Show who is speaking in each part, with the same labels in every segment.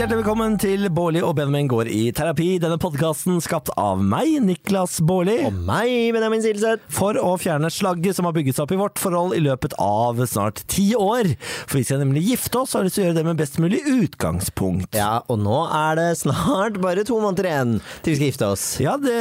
Speaker 1: Hjertelig velkommen til Bårli og Benjamin går i terapi. Denne podkasten skapt av meg, Niklas Bårli.
Speaker 2: Og meg, Benjamin Silseth.
Speaker 1: For å fjerne slagget som har bygget seg opp i vårt forhold i løpet av snart ti år. For vi skal nemlig gifte oss og har lyst til å gjøre det med best mulig utgangspunkt. Ja,
Speaker 2: Ja, og nå er det snart bare to måneder igjen til vi skal gifte oss.
Speaker 1: det,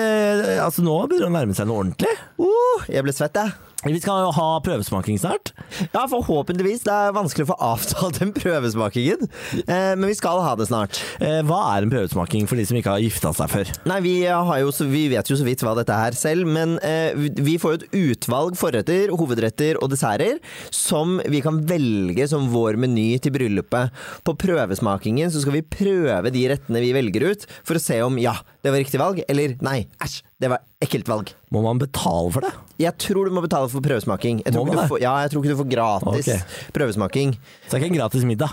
Speaker 1: altså nå begynner det å nærme seg noe ordentlig.
Speaker 2: Uh, jeg ble svett, jeg.
Speaker 1: Vi skal jo ha prøvesmaking snart.
Speaker 2: Ja, forhåpentligvis. Det er vanskelig å få avtalt den prøvesmakingen, eh, men vi skal ha det snart.
Speaker 1: Eh, Hva er en prøvesmaking for de som ikke har gifta seg før?
Speaker 2: Nei, vi, eh, har jo, så- vi vet jo så vidt hva dette er selv, men eh, vi får jo et utvalg forretter, hovedretter og desserter som vi kan velge som vår meny til bryllupet. På prøvesmakingen så skal vi prøve de rettene vi velger ut, for å se om ja, det var riktig valg, eller nei, æsj, det var ekkelt valg.
Speaker 1: Må man betale for det?
Speaker 2: Jeg tror du må betale for prøvesmaking. Jeg tror,
Speaker 1: Må man
Speaker 2: ikke du,
Speaker 1: det?
Speaker 2: får, ja, jeg tror ikke du får gratis
Speaker 1: Ok.
Speaker 2: prøvesmaking.
Speaker 1: Så det er ikke en gratis middag.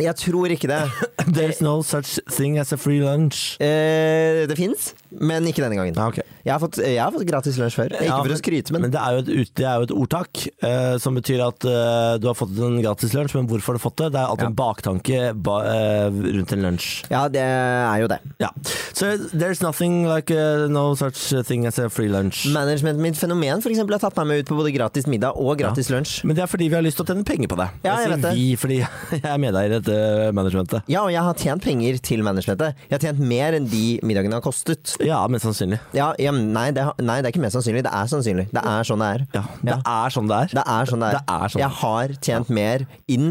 Speaker 2: Jeg tror ikke det.
Speaker 1: There's no such thing as a free lunch.
Speaker 2: Eh, det fins, men ikke denne gangen.
Speaker 1: Ja, Ah, ok.
Speaker 2: Jeg, har fått, jeg har fått gratis lunsj før. Ikke
Speaker 1: Ja,
Speaker 2: for å skryte, men
Speaker 1: Men det er jo et, ut- det er jo et ordtak eh, som betyr at eh, du har fått en gratis lunsj, men hvorfor har du fått det? Det er alltid en baktanke ba, eh, rundt en lunsj.
Speaker 2: Ja, det er jo det.
Speaker 1: Ja. Så there's nothing like eh, no such thing as a free lunch.
Speaker 2: Managementet mitt fenomen for eksempel, har tatt meg med ut på både gratis middag og gratis lunsj.
Speaker 1: Men det er fordi vi har lyst til å tjene penger på det.
Speaker 2: Ja, jeg
Speaker 1: sier
Speaker 2: vet det.
Speaker 1: vi fordi jeg er medeier i dette managementet.
Speaker 2: Ja, og jeg har tjent penger til managementet. Jeg har tjent mer enn de middagene har kostet.
Speaker 1: Ja, mest sannsynlig.
Speaker 2: Ja, ja, men nei, det, har- nei, det er ikke mer sannsynlig. Det er sannsynlig. Det er sånn det er.
Speaker 1: Ja, det er sånn det er.
Speaker 2: Det er sånn det er.
Speaker 1: Det er sånn.
Speaker 2: Jeg har tjent mer inn,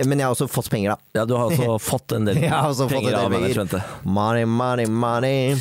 Speaker 2: men jeg har også fått penger, da.
Speaker 1: Ja, du har også fått en del
Speaker 2: Jeg har også fått
Speaker 1: penger
Speaker 2: en del
Speaker 1: av
Speaker 2: penger.
Speaker 1: managementet.
Speaker 2: Money, money, money.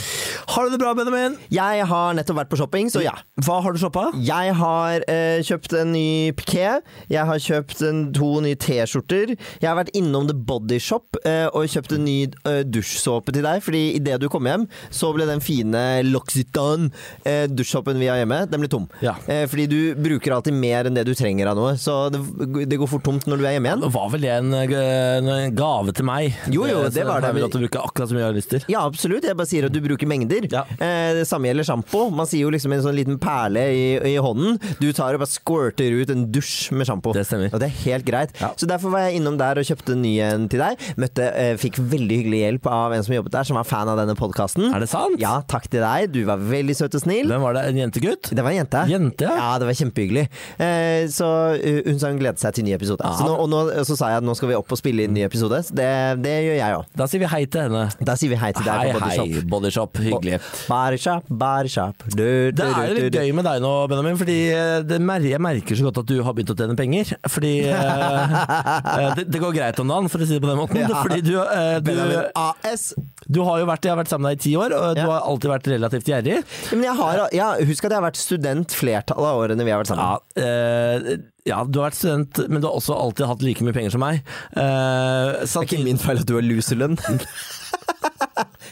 Speaker 1: Har du det bra, Benjamin?
Speaker 2: Jeg har nettopp vært på shopping, så ja.
Speaker 1: Hva har du shoppa?
Speaker 2: Jeg har eh, kjøpt en ny piké. Jeg har kjøpt en, to nye T-skjorter. Jeg har vært innom The Body Shop eh, og kjøpt en ny eh, dusjsåpe til deg. Fordi idet du kom hjem, så ble den fine L'Occitane eh, dusjsåpen vi har hjemme, den ble tom.
Speaker 1: Ja.
Speaker 2: Eh, fordi du bruker alltid mer enn det du trenger av noe. Så det, det går fort tomt når du er hjemme igjen.
Speaker 1: Det var vel det en, eh, en gave til meg?
Speaker 2: Jo, jo,
Speaker 1: Eh,
Speaker 2: det
Speaker 1: så
Speaker 2: var
Speaker 1: har
Speaker 2: det.
Speaker 1: vi lov til å bruke akkurat så mye jeg har lyst til.
Speaker 2: Ja, absolutt. Jeg bare sier at du bruker mengder.
Speaker 1: Ja.
Speaker 2: Eh, det samme gjelder sjampo. Man sier jo liksom en sånn liten perle i, i hånden. Du tar og bare squirter ut en dusj med sjampo.
Speaker 1: Det stemmer.
Speaker 2: Og det er helt greit.
Speaker 1: Ja.
Speaker 2: Så derfor var jeg innom der og kjøpte en ny en til deg. Møtte, eh, fikk veldig hyggelig hjelp av en som jobbet der, som var fan av denne podkasten.
Speaker 1: Er det sant?
Speaker 2: Ja, takk til deg. Du var veldig søt og snill.
Speaker 1: Hvem var det? En jentegutt?
Speaker 2: Det var en jente.
Speaker 1: Jente, ja.
Speaker 2: ja. det var kjempehyggelig. Eh, så eh, hun sa hun gledet seg til ny episode.
Speaker 1: Ja.
Speaker 2: Så nå, og nå, så sa jeg at nå skal vi opp og spille inn ny episode. Så det, det gjør jeg òg.
Speaker 1: Da sier vi hei til henne.
Speaker 2: Da sier vi hei til
Speaker 1: Hei,
Speaker 2: deg på Body Shop.
Speaker 1: hei, Bodyshop. Hyggelig.
Speaker 2: Barishop, barishop. Du, du,
Speaker 1: Det er jo
Speaker 2: du,
Speaker 1: litt
Speaker 2: du, du.
Speaker 1: gøy med deg nå, Benjamin, fordi eh, det mer jeg merker så godt at du har begynt å tjene penger. Fordi eh, eh, det, det går greit om dagen, for å si det på den måten.
Speaker 2: Ja.
Speaker 1: Fordi du, eh,
Speaker 2: Benjamin
Speaker 1: du,
Speaker 2: AS.
Speaker 1: du har jo vært, jeg har vært sammen med deg i ti år, og du
Speaker 2: Ja.
Speaker 1: har alltid vært relativt gjerrig.
Speaker 2: Ja, Men jeg har, ja, husk at jeg har vært student flertallet av årene vi har vært sammen.
Speaker 1: Ja, eh, ja, du har vært student, men du har også alltid hatt like mye penger som meg. Eh,
Speaker 2: Det er ikke min feil at du har luselønn.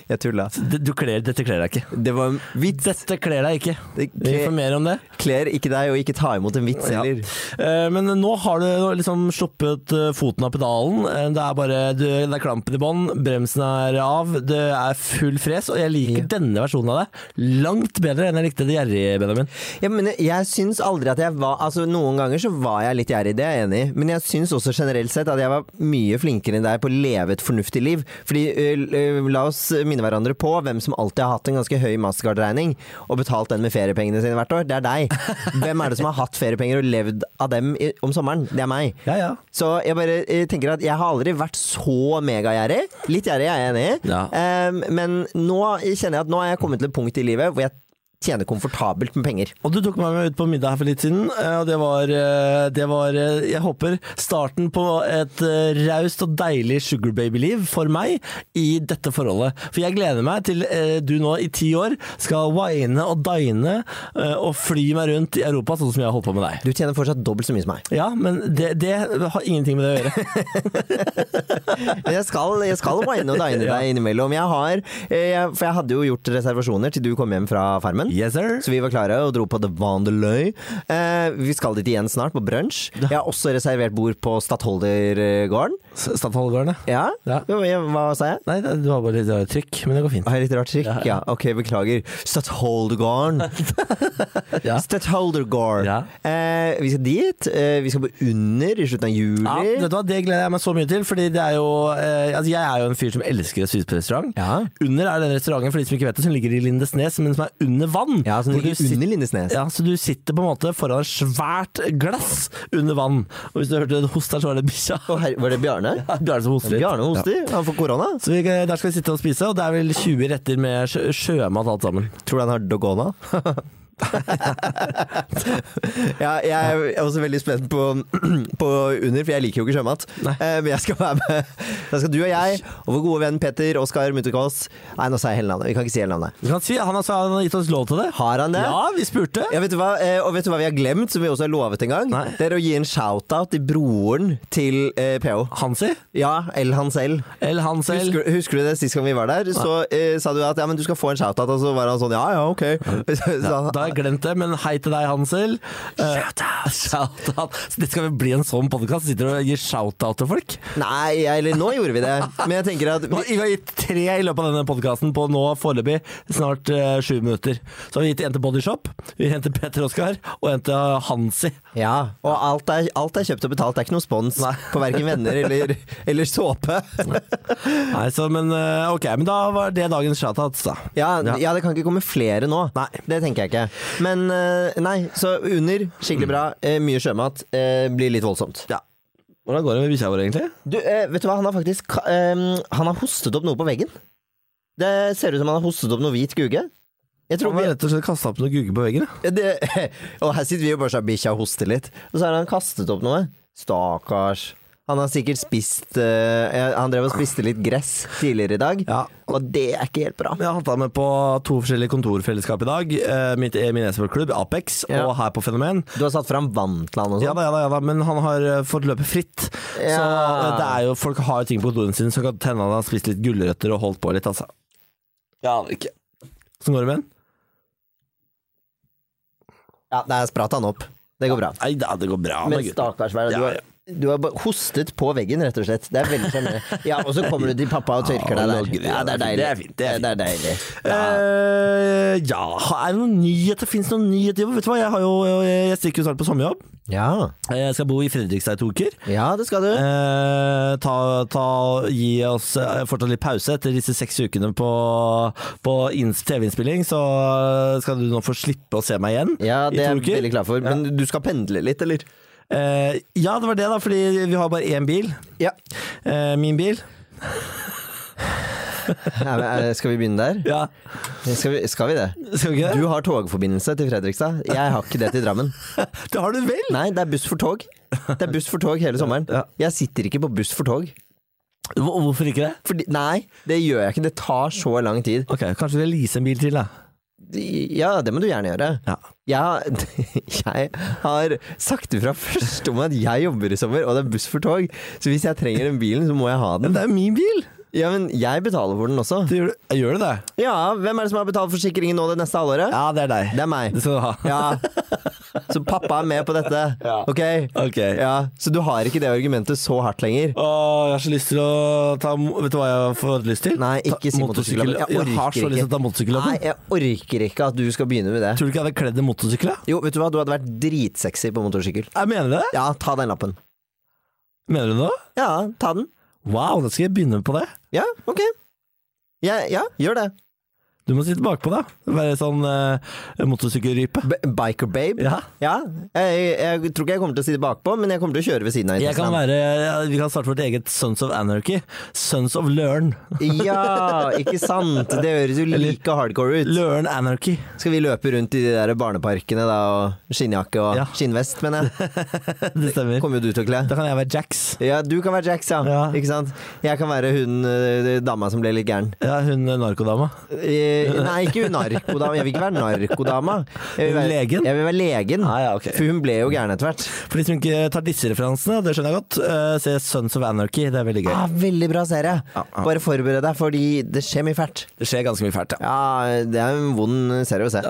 Speaker 2: jeg tulla.
Speaker 1: Det- Du kler, dette kler deg ikke.
Speaker 2: Det var en vits.
Speaker 1: Dette kler deg ikke.
Speaker 2: Det
Speaker 1: Vi får mer om det.
Speaker 2: kler ikke deg å ikke ta imot en vits
Speaker 1: Ja.
Speaker 2: heller.
Speaker 1: Eh, Men nå har du liksom sluppet eh, foten av pedalen. Eh, Det er bare du, det er klampen i bånn, bremsen er av, det er full fres. Og jeg liker denne versjonen av deg langt bedre enn jeg likte det gjerrige, Benjamin.
Speaker 2: Ja, men jeg, jeg syns aldri at jeg var Altså Noen ganger så var jeg litt gjerrig, det er jeg enig i. Men jeg syns også generelt sett at jeg var mye flinkere enn deg på å leve et fornuftig liv. Fordi ø, l- ø, La oss minne hverandre på hvem som alltid har hatt en ganske høy Mastercard-regning og betalt den med feriepengene sine hvert år. Det er deg. Hvem er det som har hatt feriepenger og levd av dem i, om sommeren? Det er meg.
Speaker 1: Ja, ja.
Speaker 2: Så jeg bare eh, tenker at jeg har aldri vært så megagjerrig. Litt gjerrig er jeg enig i,
Speaker 1: Ja.
Speaker 2: Ehm, men nå kjenner jeg at nå er jeg kommet til et punkt i livet hvor jeg tjener komfortabelt med penger.
Speaker 1: Og du tok meg med ut på middag her for litt siden, eh, og det var, eh, det var eh, jeg håper, starten på et eh, raust og deilig sugar baby-liv for meg i dette forholdet. For jeg gleder meg til eh, du nå i ti år skal wine og dine eh, og fly meg rundt i Europa, sånn som jeg har holdt på med deg.
Speaker 2: Du tjener fortsatt dobbelt så mye som meg.
Speaker 1: Ja, men det, det har ingenting med det å gjøre.
Speaker 2: Men jeg skal, jeg skal wine og dine
Speaker 1: Ja.
Speaker 2: deg innimellom. Jeg har, eh, jeg, for jeg hadde jo gjort reservasjoner til du kom hjem fra Farmen.
Speaker 1: Yes, sir.
Speaker 2: Så vi var klare og dro på The Wanderløy. Eh, vi skal dit igjen snart, på brunsj. Jeg har også reservert bord på Stadholdergården.
Speaker 1: Stadholdegården, ja. Ja.
Speaker 2: Ja, Hva, hva sa jeg?
Speaker 1: Nei, det- du har bare litt det var et trykk, men det går fint.
Speaker 2: Har jeg litt rart trykk? Ja, ok, beklager. Stadholdergården.
Speaker 1: Ja.
Speaker 2: Stadholdergården.
Speaker 1: Ja.
Speaker 2: Eh, vi skal dit. Eh, vi skal på Under i slutten av juli.
Speaker 1: Ja, vet du hva, Det gleder jeg meg så mye til. Fordi det er jo eh, altså Jeg er jo en fyr som elsker å spise på restaurant.
Speaker 2: Ja.
Speaker 1: Under er den restauranten for de som ikke vet det, som ligger i Lindesnes, men som er under vann.
Speaker 2: Ja, sånn
Speaker 1: Hvor du
Speaker 2: ligger
Speaker 1: sit-
Speaker 2: under Lindesnes.
Speaker 1: ja, Så du sitter på en måte foran et svært glass under vann. Og hvis du hørte en host der, så var det bikkja.
Speaker 2: Å, herre- var det Bjarne?
Speaker 1: Ja, Bjarne som hoster litt.
Speaker 2: Bjarne hoster. Han får korona.
Speaker 1: Så vi, eh, Der skal vi sitte og spise, og det er vel 20 retter med sjø, sjømat alt sammen.
Speaker 2: Tror du han har dogona? ja, jeg er også veldig spent på, på under, for jeg liker jo ikke sjømat. Eh, Men jeg skal være med. Da skal du og jeg og vår gode venn Petter Oskar Mutterkås Nei, nå sa jeg hele navnet. Vi kan ikke si hele navnet.
Speaker 1: Du kan si, han, altså, han har gitt oss lov til det.
Speaker 2: Har han det?
Speaker 1: Ja, vi spurte.
Speaker 2: Ja, vet du hva? Eh, Og vet du hva vi har glemt, som vi også har lovet en gang?
Speaker 1: Nei.
Speaker 2: Det er å gi en shout-out til broren til eh, PH.
Speaker 1: Hansi?
Speaker 2: Ja, eller han selv.
Speaker 1: Eller han selv?
Speaker 2: Husker, husker du det sist gang vi var der? Så eh, sa du at ja, men du skal få en shout-out, og så var han sånn ja ja, ok. Så, han-
Speaker 1: Da har jeg glemt det, men hei til deg, Hansel. Shout-out! Så dette skal vel bli en sånn podkast? Sitter og gir shout-out til folk?
Speaker 2: Nei, eller nå gjorde vi det. Men jeg tenker at
Speaker 1: Vi vi har gitt tre i løpet av denne podkasten på nå foreløpig snart eh, sju minutter. Så har vi gitt en til Bodyshop, vi har en til Petter Oskar og en til eh, Hansi.
Speaker 2: Ja, og alt er, alt er kjøpt og betalt. Det er ikke noe spons på verken venner eller, eller såpe.
Speaker 1: Nei, så, men eh, ok, men da var det dagens shoutouts, da.
Speaker 2: Ja,
Speaker 1: Ja.
Speaker 2: ja. det kan ikke komme flere nå.
Speaker 1: Nei.
Speaker 2: Det tenker jeg ikke. Men eh, nei, så under, skikkelig bra. Eh, Mye sjømat. eh, Blir litt voldsomt.
Speaker 1: Ja. Hvordan går det med bikkja vår, egentlig?
Speaker 2: Du, eh, vet du hva, han har faktisk ka- eh, Han har hostet opp noe på veggen. Det ser ut som han har hostet opp noe hvit gugge. Jeg tror
Speaker 1: Han
Speaker 2: vi,
Speaker 1: har rett og slett kasta opp noe gugge på veggen. ja.
Speaker 2: det, og her sitter vi og bare sånn bikkja hoster litt. Og så har han kastet opp noe. Stakkars. Han har sikkert spist eh, Han drev og spiste litt gress tidligere i dag,
Speaker 1: Ja.
Speaker 2: og det er ikke helt bra.
Speaker 1: Jeg har hatt ham med på to forskjellige kontorfellesskap i dag. Eh, Mitt, min e-sportklubb, Apex,
Speaker 2: Ja.
Speaker 1: og her på Fenomen.
Speaker 2: Du har satt fram vann til han og
Speaker 1: Ja
Speaker 2: sånn?
Speaker 1: da, ja da, ja da, men han har eh, fått løpe fritt. Så
Speaker 2: Ja.
Speaker 1: eh, det er jo, folk har jo ting på kontorene sine, så kan hende han har spist litt gulrøtter og holdt på litt, altså. Jeg aner ikke. Åssen går det med den?
Speaker 2: Ja, der spratt han opp. Det går bra.
Speaker 1: Nei da, det går bra.
Speaker 2: Men
Speaker 1: med gutten.
Speaker 2: stakkars hva er det?
Speaker 1: Ja,
Speaker 2: du, har, du har bare hostet på veggen, rett og slett. Det er veldig sjenerende. Ja, og så kommer du til pappa og tørker
Speaker 1: Ja,
Speaker 2: deg
Speaker 1: nå
Speaker 2: der.
Speaker 1: griner
Speaker 2: Ja, det er
Speaker 1: jeg.
Speaker 2: deilig.
Speaker 1: Det er fint, det er fint.
Speaker 2: Det er deilig.
Speaker 1: Ja. Eh, ja, er det noen nyheter? Fins det noen nyheter? Vet du hva, jeg, har jo, jeg stikker jo snart på sommerjobb. Eh,
Speaker 2: Ja.
Speaker 1: Jeg skal bo i Fredrikstad i to uker.
Speaker 2: ja, det skal du.
Speaker 1: Eh, ta, ta, gi oss eh, fortsatt litt pause etter disse seks ukene på, på ins- TV-innspilling, så eh, skal du nå få slippe å se meg igjen
Speaker 2: Ja, det er
Speaker 1: i to
Speaker 2: jeg
Speaker 1: uker.
Speaker 2: veldig klar for. Men du skal pendle litt, eller?
Speaker 1: Eh, ja, det var det, da, fordi vi har bare én bil.
Speaker 2: Ja.
Speaker 1: Eh, min bil.
Speaker 2: Ja, men, eh, Skal vi begynne der?
Speaker 1: Ja,
Speaker 2: Skal vi, skal vi det?
Speaker 1: Skal vi ikke det?
Speaker 2: Du har togforbindelse til Fredrikstad. Jeg har ikke det til Drammen.
Speaker 1: Det har du vel?
Speaker 2: Nei, det er buss for tog. Det er buss for tog hele sommeren.
Speaker 1: Ja.
Speaker 2: Jeg sitter ikke på buss for tog.
Speaker 1: Hvor- Hvorfor ikke det?
Speaker 2: Fordi, nei, det gjør jeg ikke. Det tar så lang tid.
Speaker 1: Ok, Kanskje vi skal lease en bil til, da.
Speaker 2: Ja, det må du gjerne gjøre.
Speaker 1: Ja.
Speaker 2: Jeg, har- jeg har sagt ifra først om at jeg jobber i sommer, og det er buss for tog. Så hvis jeg trenger den bilen, så må jeg ha den.
Speaker 1: Det er jo min bil!
Speaker 2: Ja, men jeg betaler for den også.
Speaker 1: Det gjør, du- gjør du det?
Speaker 2: Ja, hvem er det som har betalt forsikringen nå det neste halvåret?
Speaker 1: Ja, det er deg.
Speaker 2: Det er meg.
Speaker 1: Det skal du ha.
Speaker 2: Ja. Så pappa er med på dette. Ok?
Speaker 1: Ok.
Speaker 2: Ja, så du har ikke det argumentet så hardt lenger.
Speaker 1: Åh, jeg har så lyst til å ta mo- Vet du hva jeg har fått lyst til?
Speaker 2: Nei, ikke si
Speaker 1: Ta
Speaker 2: motorsykkel. Jeg
Speaker 1: Jeg, har
Speaker 2: orker
Speaker 1: så lyst til
Speaker 2: ikke.
Speaker 1: å ta motorsykkellappen.
Speaker 2: Nei, jeg orker ikke at du skal begynne med det.
Speaker 1: Tror du ikke jeg hadde kledd en motorsykkel? da?
Speaker 2: Jo, vet du hva, du hadde vært dritsexy på motorsykkel.
Speaker 1: Jeg mener du det?
Speaker 2: Ja, ta den lappen.
Speaker 1: Mener du det? nå?
Speaker 2: Ja, ta den.
Speaker 1: Wow, da skal jeg begynne på det.
Speaker 2: Ja, ok. Ja, ja gjør det.
Speaker 1: Du må sitte bakpå, da. Være sånn eh, motorsykkelrype.
Speaker 2: B biker babe.
Speaker 1: Ja.
Speaker 2: Ja, jeg, jeg tror ikke jeg kommer til å sitte bakpå, men jeg kommer til å kjøre ved siden av
Speaker 1: Jeg kan være, ja, vi kan starte vårt eget Sons of Anarchy. Sons of Løren.
Speaker 2: Ja, ikke sant? Det høres jo like hardcore ut.
Speaker 1: Løren Anarchy.
Speaker 2: Skal vi løpe rundt i de der barneparkene da, og skinnjakke og
Speaker 1: Ja.
Speaker 2: skinnvest, mener jeg.
Speaker 1: Det stemmer.
Speaker 2: Kommer jo du til å kle.
Speaker 1: Da kan jeg være Jax.
Speaker 2: Ja, du kan være Jax, ja.
Speaker 1: Ja.
Speaker 2: Ikke sant? Jeg kan være hun eh, dama som ble litt gæren.
Speaker 1: Ja, hun eh, narkodama.
Speaker 2: Eh, eh, Nei, ikke hun narkodama. Jeg vil ikke være narkodama. Jeg vil være,
Speaker 1: Legen?
Speaker 2: Jeg vil være legen.
Speaker 1: Ah, ja, ok.
Speaker 2: For hun ble jo gæren etter hvert.
Speaker 1: For de som ikke tar disse referansene, det skjønner jeg godt, eh, se Sons of Anarchy. Det er veldig gøy.
Speaker 2: Ah, veldig bra serie.
Speaker 1: ja.
Speaker 2: Bare forbered deg, fordi det skjer mye fælt.
Speaker 1: Det skjer ganske mye fælt, ja.
Speaker 2: Ja, det er en vond serie å se.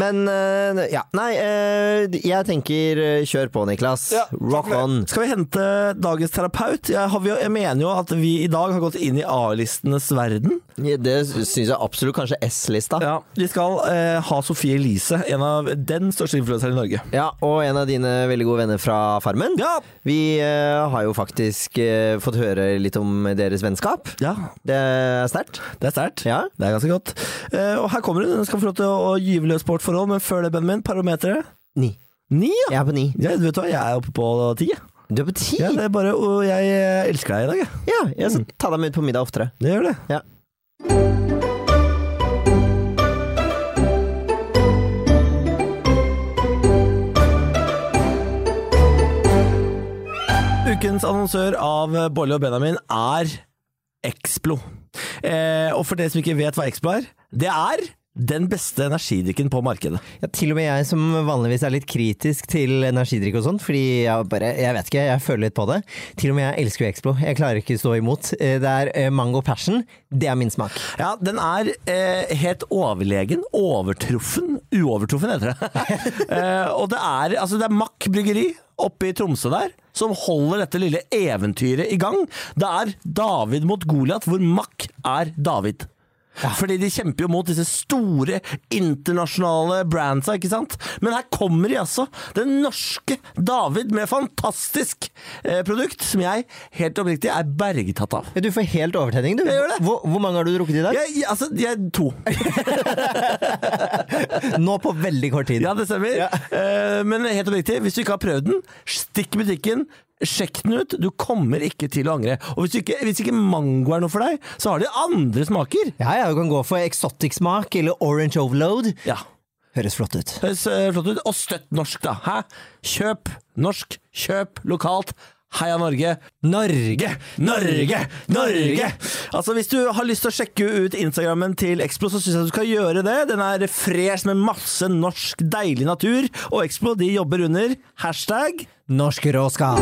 Speaker 2: Men eh, ja, nei, eh, jeg tenker eh, kjør på, Niklas.
Speaker 1: Ja,
Speaker 2: Rock
Speaker 1: takk for
Speaker 2: on.
Speaker 1: det. Skal vi hente dagens terapeut? Jeg, har, vi- jeg mener jo at vi i dag har gått inn i A-listenes verden.
Speaker 2: Ja, Det syns jeg absolutt kanskje S-lista. Ja.
Speaker 1: Ja, Vi skal eh, ha Sofie Elise, en av den største influenseren i Norge.
Speaker 2: Og en av dine veldig gode venner fra Farmen.
Speaker 1: Ja.
Speaker 2: Vi eh, har jo faktisk eh, fått høre litt om deres vennskap.
Speaker 1: Ja,
Speaker 2: Det er sterkt.
Speaker 1: det er sterkt.
Speaker 2: Ja.
Speaker 1: Det er ganske godt. Eh, og her kommer hun. Hun skal få lov til å, å gyve løs på vårt forhold, men før det, Benjamin, parometeret?
Speaker 2: Ni.
Speaker 1: Ni, ja.
Speaker 2: Jeg er på ni.
Speaker 1: ja! Vet du hva, jeg er oppe på ti. jeg.
Speaker 2: Du er på ti?
Speaker 1: Ja,
Speaker 2: Ja,
Speaker 1: det er bare, og jeg eh, elsker deg i dag, jeg.
Speaker 2: jeg skal ta deg med ut på middag oftere.
Speaker 1: Det gjør det.
Speaker 2: Ja.
Speaker 1: Ukens annonsør av Bolle og Benjamin er Explo. Eh, og for dere som ikke vet hva Explo er, det er den beste energidrikken på markedet.
Speaker 2: Ja, til og med jeg som vanligvis er litt kritisk til energidrikk og sånt, fordi jeg bare, jeg vet ikke, jeg føler litt på det. Til og med jeg elsker jo Explo, jeg klarer ikke stå imot. Eh, Det er eh, mango passion, det er min smak.
Speaker 1: Ja, den er eh, helt overlegen, overtruffen, uovertruffen heter det. eh, og det er, altså det er Mack bryggeri oppe i Tromsø der, som holder dette lille eventyret i gang. Det er David mot Goliat, hvor Mack er David. Fordi de kjemper jo mot disse store internasjonale brandsa, ikke sant? Men her kommer de altså, den norske David med fantastisk eh, produkt, som jeg helt oppriktig er bergtatt av.
Speaker 2: Du får helt overtenning, du.
Speaker 1: gjør det.
Speaker 2: Hvor, hvor mange har du drukket i dag?
Speaker 1: Jeg, jeg, altså, jeg to.
Speaker 2: Nå på veldig kort tid.
Speaker 1: Ja, det stemmer. Eh, men helt oppriktig, hvis du ikke har prøvd den, stikk i butikken. Sjekk den ut, du kommer ikke til å angre. Og hvis ikke, hvis ikke mango er noe for deg, så har de andre smaker.
Speaker 2: Ja, ja, du kan gå for exotic smak eller orange overload.
Speaker 1: Ja,
Speaker 2: Høres flott ut.
Speaker 1: høres eh, flott ut. Og støtt norsk, da. Hæ? Kjøp norsk, kjøp lokalt. Heia Norge!
Speaker 2: Norge!
Speaker 1: Norge! Norge! Norge! Altså, hvis du har lyst til å sjekke ut Instagrammen til Explo, så syns jeg du skal gjøre det. Den er fresh med masse norsk, deilig natur, og Explo de jobber under hashtag
Speaker 2: Norsk råskap.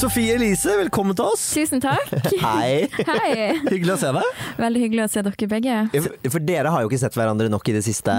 Speaker 1: Sofie Elise, velkommen til oss.
Speaker 3: Tusen takk.
Speaker 2: Hei.
Speaker 3: Hei.
Speaker 1: Hyggelig å se deg.
Speaker 3: Veldig hyggelig å se dere begge.
Speaker 2: For dere har jo ikke sett hverandre nok i det siste.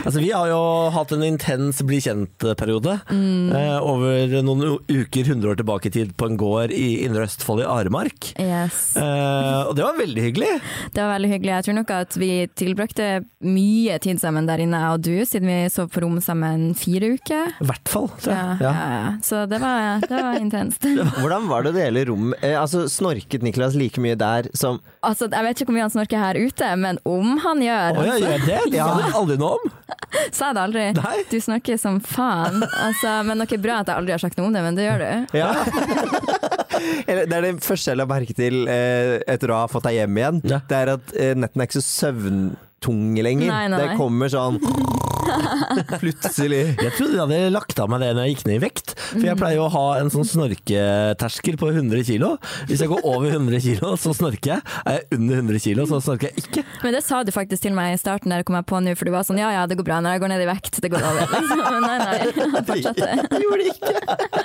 Speaker 1: Altså, vi har jo hatt en intens bli kjent-periode eh, over noen u- uker 100 år tilbake i tid på en gård i Indre Østfold i Aremark.
Speaker 3: Yes.
Speaker 1: Eh, og det var veldig hyggelig.
Speaker 3: Det var veldig hyggelig. Jeg tror nok at vi tilbrakte mye tid sammen der inne, jeg og du, siden vi sov på rom sammen fire uker.
Speaker 1: I hvert fall. tror
Speaker 3: Ja,
Speaker 1: jeg.
Speaker 3: ja. ja. Så det var, det var intenst.
Speaker 2: Hvordan var det å dele rom? Eh, altså, snorket Niklas like mye der som
Speaker 3: Altså, jeg vet ikke hvor mye han snorker her ute, men om han gjør,
Speaker 1: Å ja, gjør jeg det? Det
Speaker 2: Ja.
Speaker 1: hadde jeg aldri noe om.
Speaker 3: sa jeg det aldri.
Speaker 1: Nei.
Speaker 3: Du snorker som faen. Altså, men noe bra at jeg aldri har sagt noe om det, men det gjør du.
Speaker 2: Ja. Eller, det er det første jeg la merke til eh, etter å ha fått deg hjem igjen.
Speaker 1: Ja.
Speaker 2: Det er at eh, netten er ikke så søvntung lenger.
Speaker 3: Nei, nei,
Speaker 2: Det
Speaker 3: nei.
Speaker 2: kommer sånn plutselig.
Speaker 1: Jeg trodde jeg hadde lagt av meg det når jeg gikk ned i vekt. For jeg pleier jo å ha en sånn snorketerskel på 100 kilo. Hvis jeg går over 100 kilo, så snorker jeg. Er jeg under 100 kilo, så snorker jeg ikke.
Speaker 3: Men det sa du faktisk til meg i starten, der kom jeg på nå, for du var sånn ja ja, det går bra når jeg går ned i vekt, det går over. Liksom. Men nei, nei, han fortsatte.
Speaker 2: Gjorde ikke.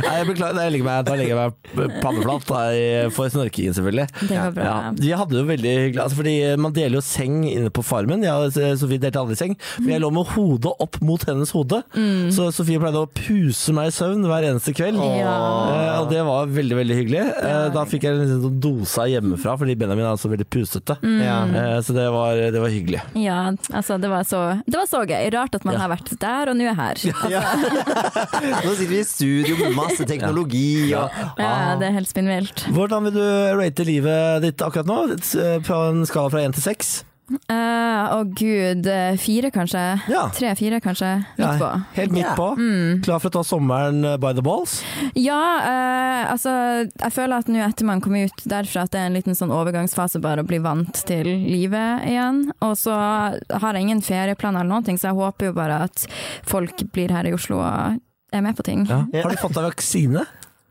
Speaker 1: Nei, jeg beklager, Nei, jeg legger meg, da legger jeg meg panneflat da, i- for snorkingen, selvfølgelig.
Speaker 3: Det går bra.
Speaker 1: Ja, vi hadde det jo veldig hyggelig, altså, fordi man deler jo seng inne på farmen. Jeg og Sofie delte aldri seng, men jeg lå med hodet opp mot hennes hode.
Speaker 3: Mm.
Speaker 1: Så Sofie pleide å puse meg i søvn hver eneste kveld.
Speaker 3: Ja.
Speaker 1: Eh, og det var veldig veldig hyggelig. Eh, da fikk jeg en liten sånn dosa hjemmefra, fordi Benjamin er altså veldig pusete.
Speaker 3: Mm.
Speaker 2: Ja.
Speaker 1: Eh, så det var, det var hyggelig.
Speaker 3: Ja, altså det var, så, det var så gøy. Rart at man har vært der og nå er her. Ja,
Speaker 2: Ja. Nå sitter vi i studio med masse teknologi og
Speaker 3: det er helt spinnvilt.
Speaker 1: Hvordan vil du rate livet ditt akkurat nå? Et- eh, På en skala fra én til seks?
Speaker 3: Eh, Å gud, eh, fire kanskje?
Speaker 1: Ja.
Speaker 3: Tre-fire kanskje? Midt på. Mm.
Speaker 1: Ja, helt midt
Speaker 2: Ja.
Speaker 1: på. Klar for å ta sommeren eh, by the balls?
Speaker 3: Ja, eh, altså jeg føler at nå etter man kommer ut derfra at det er en liten sånn overgangsfase bare å bli vant til livet igjen. Og så har jeg ingen ferieplaner eller noen ting, så jeg håper jo bare at folk blir her i Oslo og er med på ting.
Speaker 2: Ja.
Speaker 1: Har du fått deg vaksine?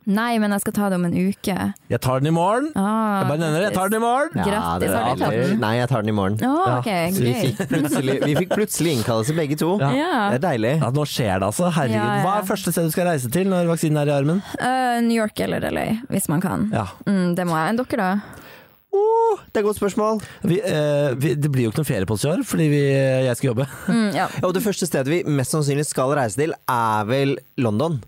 Speaker 3: Nei, men jeg skal ta det om en uke.
Speaker 1: Jeg tar den i morgen.
Speaker 3: Ah,
Speaker 1: Jeg bare nevner det. Jeg tar den i morgen.
Speaker 3: Ja, Grattis,
Speaker 2: det-
Speaker 3: har du tatt den?
Speaker 2: Nei, jeg tar den i morgen.
Speaker 3: Å,
Speaker 1: Ja,
Speaker 3: Ah, ok,
Speaker 1: så
Speaker 2: Vi
Speaker 3: gøy.
Speaker 2: fikk plutselig, vi fikk plutselig innkallelse begge to.
Speaker 1: Ja.
Speaker 3: Ja.
Speaker 2: Det er deilig.
Speaker 1: Ja, nå skjer det altså. Herregud.
Speaker 3: Ja, ja.
Speaker 1: Hva er første sted du skal reise til når vaksinen er i armen?
Speaker 3: Eh, New York eller LA, hvis man kan.
Speaker 1: Ja.
Speaker 3: Mm, det må jeg. Enn dere, da?
Speaker 2: Oh, det er et godt spørsmål.
Speaker 1: Vi, eh, vi, det blir jo ikke noen ferie på oss i år, fordi vi, eh, jeg skal jobbe.
Speaker 3: Mm, ja.
Speaker 2: Og det første stedet vi mest sannsynlig skal reise til, er vel London.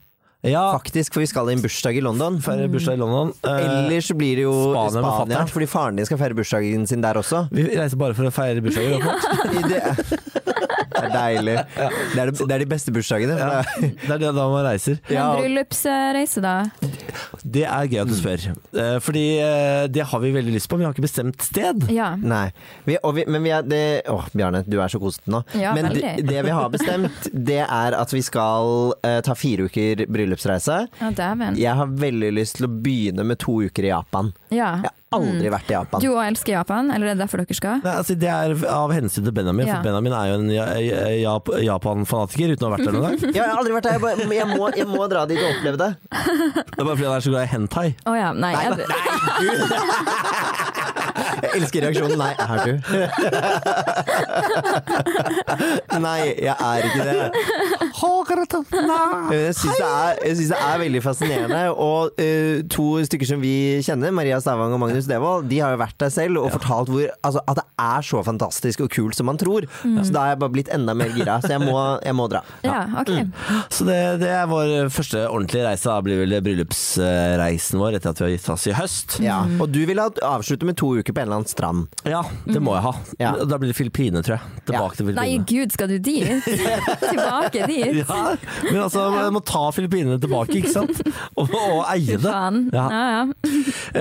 Speaker 1: Ja,
Speaker 2: Faktisk, for vi skal i en bursdag i London.
Speaker 1: feire bursdag i London. Eh,
Speaker 2: Ellers så blir det jo
Speaker 1: Spania med
Speaker 2: Spania,
Speaker 1: fatteren.
Speaker 2: fordi faren din skal feire bursdagen sin der også.
Speaker 1: vi reiser bare for å feire bursdager. Ja.
Speaker 2: I Det det er deilig. Det er, det, det er de beste bursdagene.
Speaker 1: Det er det da man reiser.
Speaker 3: Men
Speaker 2: Ja, og-
Speaker 3: bryllupsreise, da?
Speaker 1: Det er gøy at du spør,
Speaker 3: Mm.
Speaker 1: Eh, fordi eh, det har vi veldig lyst på, men vi har ikke bestemt sted.
Speaker 3: Ja.
Speaker 2: Nei. Vi, og vi, men vi er det, Åh, Bjarne, du er så kosete nå.
Speaker 3: Ja,
Speaker 2: men
Speaker 3: veldig.
Speaker 2: det, det vi har bestemt, det er at vi skal eh, ta fire uker bryllupsreise.
Speaker 3: Ja, dæven.
Speaker 2: Jeg har veldig lyst til å begynne med to uker i Japan.
Speaker 3: Ja.
Speaker 2: Jeg har aldri
Speaker 3: Mm.
Speaker 2: vært i Japan.
Speaker 3: Du òg elsker Japan, eller er det derfor dere skal?
Speaker 1: Nei, altså, det er av hensyn til Benjamin,
Speaker 3: Ja.
Speaker 1: for Benjamin er jo en ja, ja, Japan-fanatiker uten å ha vært der noen gang.
Speaker 2: Ja, jeg har aldri vært der, jeg, bare, jeg, må, jeg må dra dit og oppleve det.
Speaker 1: Det er bare fordi han er så glad i hentai.
Speaker 3: Å ja, nei. jeg-
Speaker 2: Jeg elsker reaksjonen. Nei, er du? Nei, jeg er ikke det. Jeg syns det, er- jeg synes det er veldig fascinerende. Og eh, to stykker som vi kjenner, Maria Stavang og Magnus Devold, de har jo vært der selv og fortalt hvor, altså, at det er så fantastisk og kult som man tror. Så da har jeg bare blitt enda mer gira. Så jeg må, jeg må dra.
Speaker 3: Ja, ok.
Speaker 1: Så det, det er vår første ordentlige reise. Da blir vel det bryllupsreisen vår etter at vi har gitt oss i høst.
Speaker 2: Ja. Og du vil ha- avslutte med to uker på en eller annen strand.
Speaker 1: Ja, det må jeg ha.
Speaker 2: Ja.
Speaker 1: Da blir det Filippinene, tror jeg. Tilbake til
Speaker 3: Nei,
Speaker 1: Filippinene.
Speaker 3: gud, skal du dit? Tilbake dit?
Speaker 1: Ja, men altså, man må ta Filippinene tilbake, ikke sant? Og, og eie det.
Speaker 3: Faen.
Speaker 1: Ja.
Speaker 3: Ja, ja.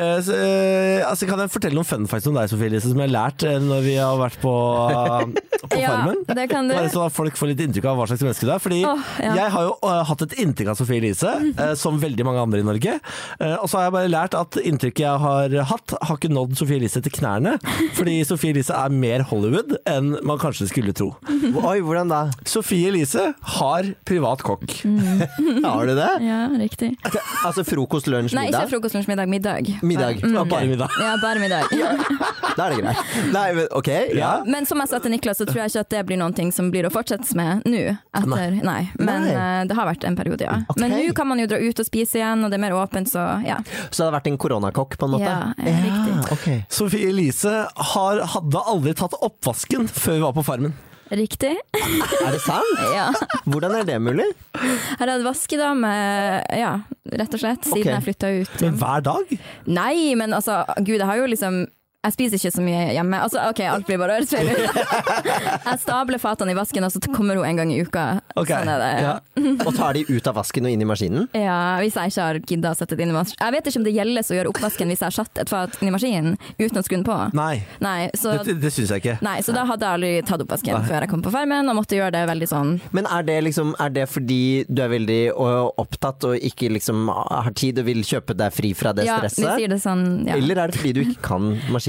Speaker 1: Eh, så, eh, altså, kan jeg fortelle noen fun facts om deg, Sofie Elise, som jeg har lært eh, når vi har vært på, eh, på
Speaker 3: Ja,
Speaker 1: Farmen?
Speaker 3: det kan du.
Speaker 1: Bare så at folk får litt inntrykk av hva slags menneske du er. Fordi
Speaker 3: Åh, ja.
Speaker 1: jeg har jo eh, hatt et inntrykk av Sofie Elise, eh, som veldig mange andre i Norge. Eh, og så har jeg bare lært at inntrykket jeg har hatt, har ikke nådd Sofie Elise til knærne. Fordi Sofie Elise er mer Hollywood enn man kanskje skulle tro.
Speaker 2: Oi, hvordan da?
Speaker 1: Sofie Elise har privat kokk.
Speaker 3: Mm.
Speaker 2: Har du det?
Speaker 3: ja, riktig.
Speaker 2: Altså frokost, lunsj,
Speaker 3: Nei, ikke
Speaker 2: middag?
Speaker 3: frokost, lunsj, middag. Middag.
Speaker 2: Middag.
Speaker 1: Det var
Speaker 2: Ok.
Speaker 1: Bare middag.
Speaker 3: Ja, bare middag.
Speaker 2: Da er det greit. Nei, men ok. Ja.
Speaker 1: Ja.
Speaker 3: Men som jeg sa til Niklas, så tror jeg ikke at det blir noen ting som blir å fortsette med nå. Etter, nei. Men
Speaker 2: Nei.
Speaker 3: eh, det har vært en periode, ja.
Speaker 2: Ok.
Speaker 3: Men nå kan man jo dra ut og spise igjen, og det er mer åpent, så ja.
Speaker 2: Så det har vært en koronakokk, på en måte?
Speaker 3: Ja, ja, riktig.
Speaker 2: ok.
Speaker 1: Sofie Elise har, hadde aldri tatt oppvasken før vi var på Farmen.
Speaker 3: Riktig.
Speaker 2: Er det sant?
Speaker 3: Ja.
Speaker 2: Hvordan er det mulig?
Speaker 3: Jeg hadde vaskedame, ja, rett og slett, siden
Speaker 2: Ok.
Speaker 3: jeg flytta ut.
Speaker 1: Men hver dag?
Speaker 3: Nei, men altså, gud, jeg har jo liksom jeg spiser ikke så mye hjemme. Altså, ok, Alt blir bare øretsfeil. Jeg stabler fatene i vasken, og så kommer hun en gang i uka.
Speaker 1: Ok.
Speaker 3: Sånn er det. Ja.
Speaker 2: Og tar de ut av vasken og inn i maskinen?
Speaker 3: Hvis jeg ikke har gidda å sette det inn i maskinen. Jeg vet ikke om det gjelder å gjøre oppvasken hvis jeg har satt et fat inn i maskinen uten å skru den på.
Speaker 1: Nei,
Speaker 3: Nei, så,
Speaker 1: det, det syns jeg ikke.
Speaker 3: nei, så da hadde jeg aldri tatt oppvasken før jeg kom på Farmen, og måtte gjøre det veldig sånn
Speaker 2: Men er det, liksom, er det fordi du er veldig ø, opptatt og ikke liksom har tid og vil kjøpe deg fri fra det
Speaker 3: Ja, vi
Speaker 2: stresset?
Speaker 3: sier det sånn, ja.
Speaker 2: Eller er det fordi du ikke kan maskinen?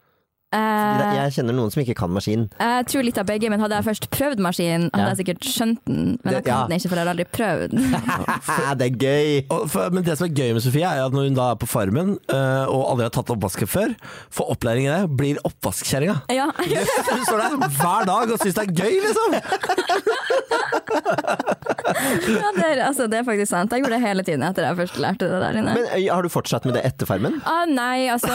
Speaker 3: Eh,
Speaker 2: Jeg kjenner noen som ikke kan maskin.
Speaker 3: Jeg tror litt av begge, men hadde jeg først prøvd maskinen, hadde
Speaker 2: Ja.
Speaker 3: jeg sikkert skjønt den. Men jeg
Speaker 2: Det- ja.
Speaker 3: kan den ikke, for jeg har aldri prøvd.
Speaker 2: det er gøy!
Speaker 1: Og for, men det som er gøy med Sofie, er at når hun da er på Farmen eh, og aldri har tatt oppvasken før, får opplæring i det, blir oppvaskkjerringa.
Speaker 3: Ja.
Speaker 1: Hun står der hver dag og syns det er gøy, liksom!
Speaker 3: Ja, det, er, altså, det er faktisk sant. Jeg gjorde det hele tiden etter jeg først lærte det der inne.
Speaker 2: Men ø, har du fortsatt med det etter farmen?
Speaker 3: ah, nei, altså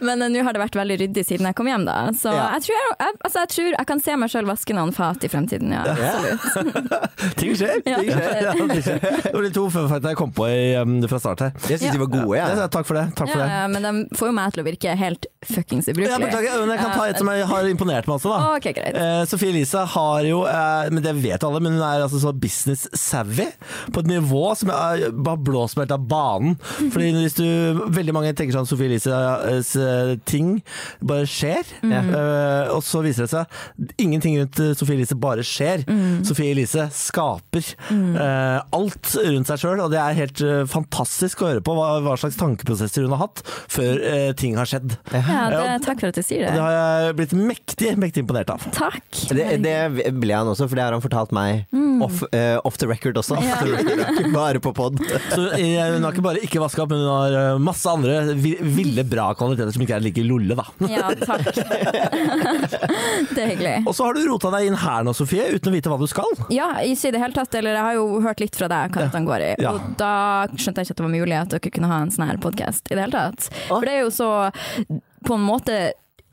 Speaker 3: Men eh, nå har det vært veldig ryddig siden jeg kom hjem, da. Så
Speaker 2: Ja.
Speaker 3: jeg, tror jeg, jeg, altså, jeg tror jeg kan se meg sjøl vaske noen fat i fremtiden, ja. Absolutt.
Speaker 1: Ting skjer!
Speaker 3: Ja,
Speaker 1: ting skjer.
Speaker 3: det-
Speaker 1: Ja, ting skjer. Det var de to fun factene jeg kom på i, eh, fra start her.
Speaker 2: Jeg syns de var gode, jeg.
Speaker 1: Ja, takk for det. Takk for
Speaker 3: Ja,
Speaker 1: det.
Speaker 3: ja, Eh, men de får jo meg til å virke helt fuckings
Speaker 1: Ja,
Speaker 3: ubrukelig.
Speaker 1: beklager, men jeg kan ta et som jeg har imponert meg også, da.
Speaker 3: Ok, greit.
Speaker 1: Eh, Sofie Elise har jo, eh, men det vet alle, men hun er altså så business savvy på et nivå som er, bare blåser meg helt av banen. Fordi hvis du, veldig mange tenker sånn Sofie Elise eh, s- ting bare skjer.
Speaker 3: Mm.
Speaker 1: Eh, og så viser det seg ingenting rundt eh, Sophie Elise bare skjer.
Speaker 3: Mm.
Speaker 1: Sophie Elise skaper eh, alt rundt seg sjøl, og det er helt eh, fantastisk å høre på hva, hva slags tankeprosesser hun har hatt før eh, ting har skjedd.
Speaker 3: Ja, det,
Speaker 1: Ja.
Speaker 3: takk for at du sier
Speaker 1: Det
Speaker 3: det.
Speaker 1: har jeg blitt mektig, mektig imponert av.
Speaker 3: Takk.
Speaker 2: Det, det ble han også, for det har han fortalt meg off, eh, off the record også.
Speaker 3: Mm. Ja.
Speaker 2: Off the record, ikke bare på pod.
Speaker 1: Så eh, hun har ikke bare ikke vaska opp, men hun har eh, masse andre vi- ville, bra kvaliteter som ikke er like lolle, da.
Speaker 3: Ja, takk. det er hyggelig.
Speaker 1: Og så har du rota deg inn her nå, Sofie, uten å vite hva du skal.
Speaker 3: Ja, ikke i det hele tatt. Eller jeg har jo hørt litt fra deg hva dette går i.
Speaker 1: Ja.
Speaker 3: Og da skjønte jeg ikke at det var mulig at dere kunne ha en sånn her podkast i det hele tatt. For det er jo så på en måte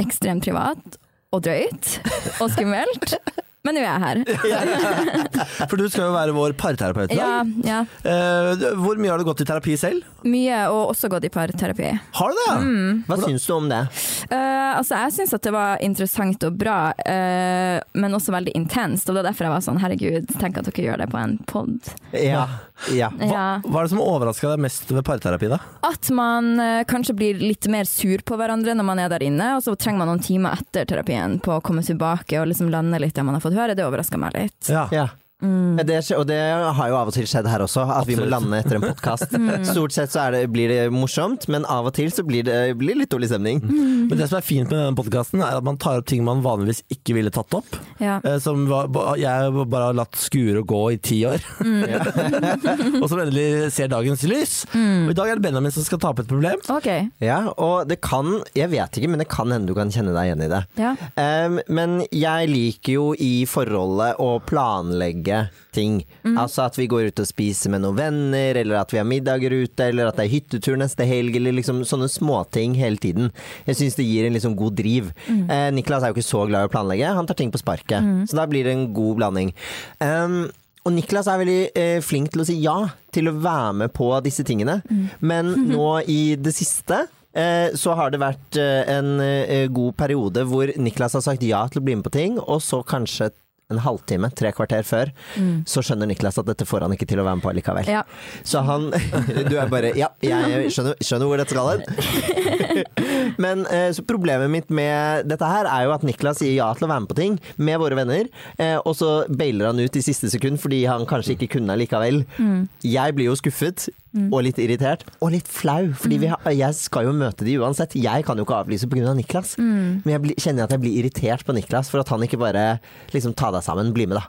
Speaker 3: ekstremt privat og drøyt og skummelt. Men nå er jeg her.
Speaker 1: For du skal jo være vår parterapeut i
Speaker 3: Ja,
Speaker 1: dag.
Speaker 3: ja.
Speaker 1: Eh, Hvor mye har du gått i terapi selv?
Speaker 3: Mye, og også gått i parterapi.
Speaker 1: Har du det?
Speaker 3: Mm.
Speaker 2: Hva syns du om det?
Speaker 3: Eh, altså jeg syns at det var interessant og bra, eh, men også veldig intenst. Og det er derfor jeg var sånn herregud, tenk at dere gjør det på en pod.
Speaker 2: Ja. ja.
Speaker 1: Hva,
Speaker 3: Ja.
Speaker 1: hva er det som overraska deg mest ved parterapi, da?
Speaker 3: At man eh, kanskje blir litt mer sur på hverandre når man er der inne, og så trenger man noen timer etter terapien på å komme tilbake og liksom lande litt det man har fått høre. Det overrasker meg litt.
Speaker 1: Ja.
Speaker 2: Ja. Ja, Det, skje- og det har jo av og til skjedd her også, at vi må
Speaker 1: Absolutt.
Speaker 2: lande etter en podkast. Stort sett så er det, blir det morsomt, men av og til så blir det blir litt dårlig stemning.
Speaker 1: Men det som er fint med denne podkasten, er at man tar opp ting man vanligvis ikke ville tatt opp.
Speaker 3: Ja.
Speaker 1: Eh, Som var, ba- jeg bare har latt skure og gå i ti år. og som endelig ser dagens lys. Og i dag er det Benjamin som skal ta opp et problem.
Speaker 3: OK.
Speaker 2: Ja, og det kan, jeg vet ikke, men det kan hende du kan kjenne deg igjen i det.
Speaker 3: Ja.
Speaker 2: Em, men jeg liker jo i forholdet å planlegge ting. Altså at vi går ut og spiser med noen venner, eller at vi har middager ute, eller at det er hyttetur neste helg, eller liksom sånne småting hele tiden. Jeg syns det gir en liksom god driv. Eh, Niklas er jo ikke så glad i å planlegge, han tar ting på sparket. Så da blir det en god blanding. Em, og Niklas er veldig eh, flink til å si ja til å være med på disse tingene. Men nå i det siste eh, så har det vært eh, en eh, god periode hvor Niklas har sagt ja til å bli med på ting, og så kanskje en halvtime, tre kvarter før, så skjønner Niklas at dette får han ikke til å være med på likevel.
Speaker 3: Ja.
Speaker 2: Så han Du er bare Ja, jeg skjønner, skjønner hvor dette skal hen. Men eh, så problemet mitt med dette her er jo at Niklas sier ja til å være med på ting med våre venner, eh, og så bailer han ut i siste sekund fordi han kanskje ikke kunne likevel.
Speaker 3: Mm.
Speaker 2: Jeg blir jo skuffet. Og litt irritert, og litt flau, Fordi
Speaker 3: Mm.
Speaker 2: vi har, jeg skal jo møte de uansett. Jeg kan jo ikke avlyse pga. Av Niklas,
Speaker 3: Mm.
Speaker 2: men jeg blir, kjenner at jeg blir irritert på Niklas for at han ikke bare liksom ta deg sammen, bli med, da.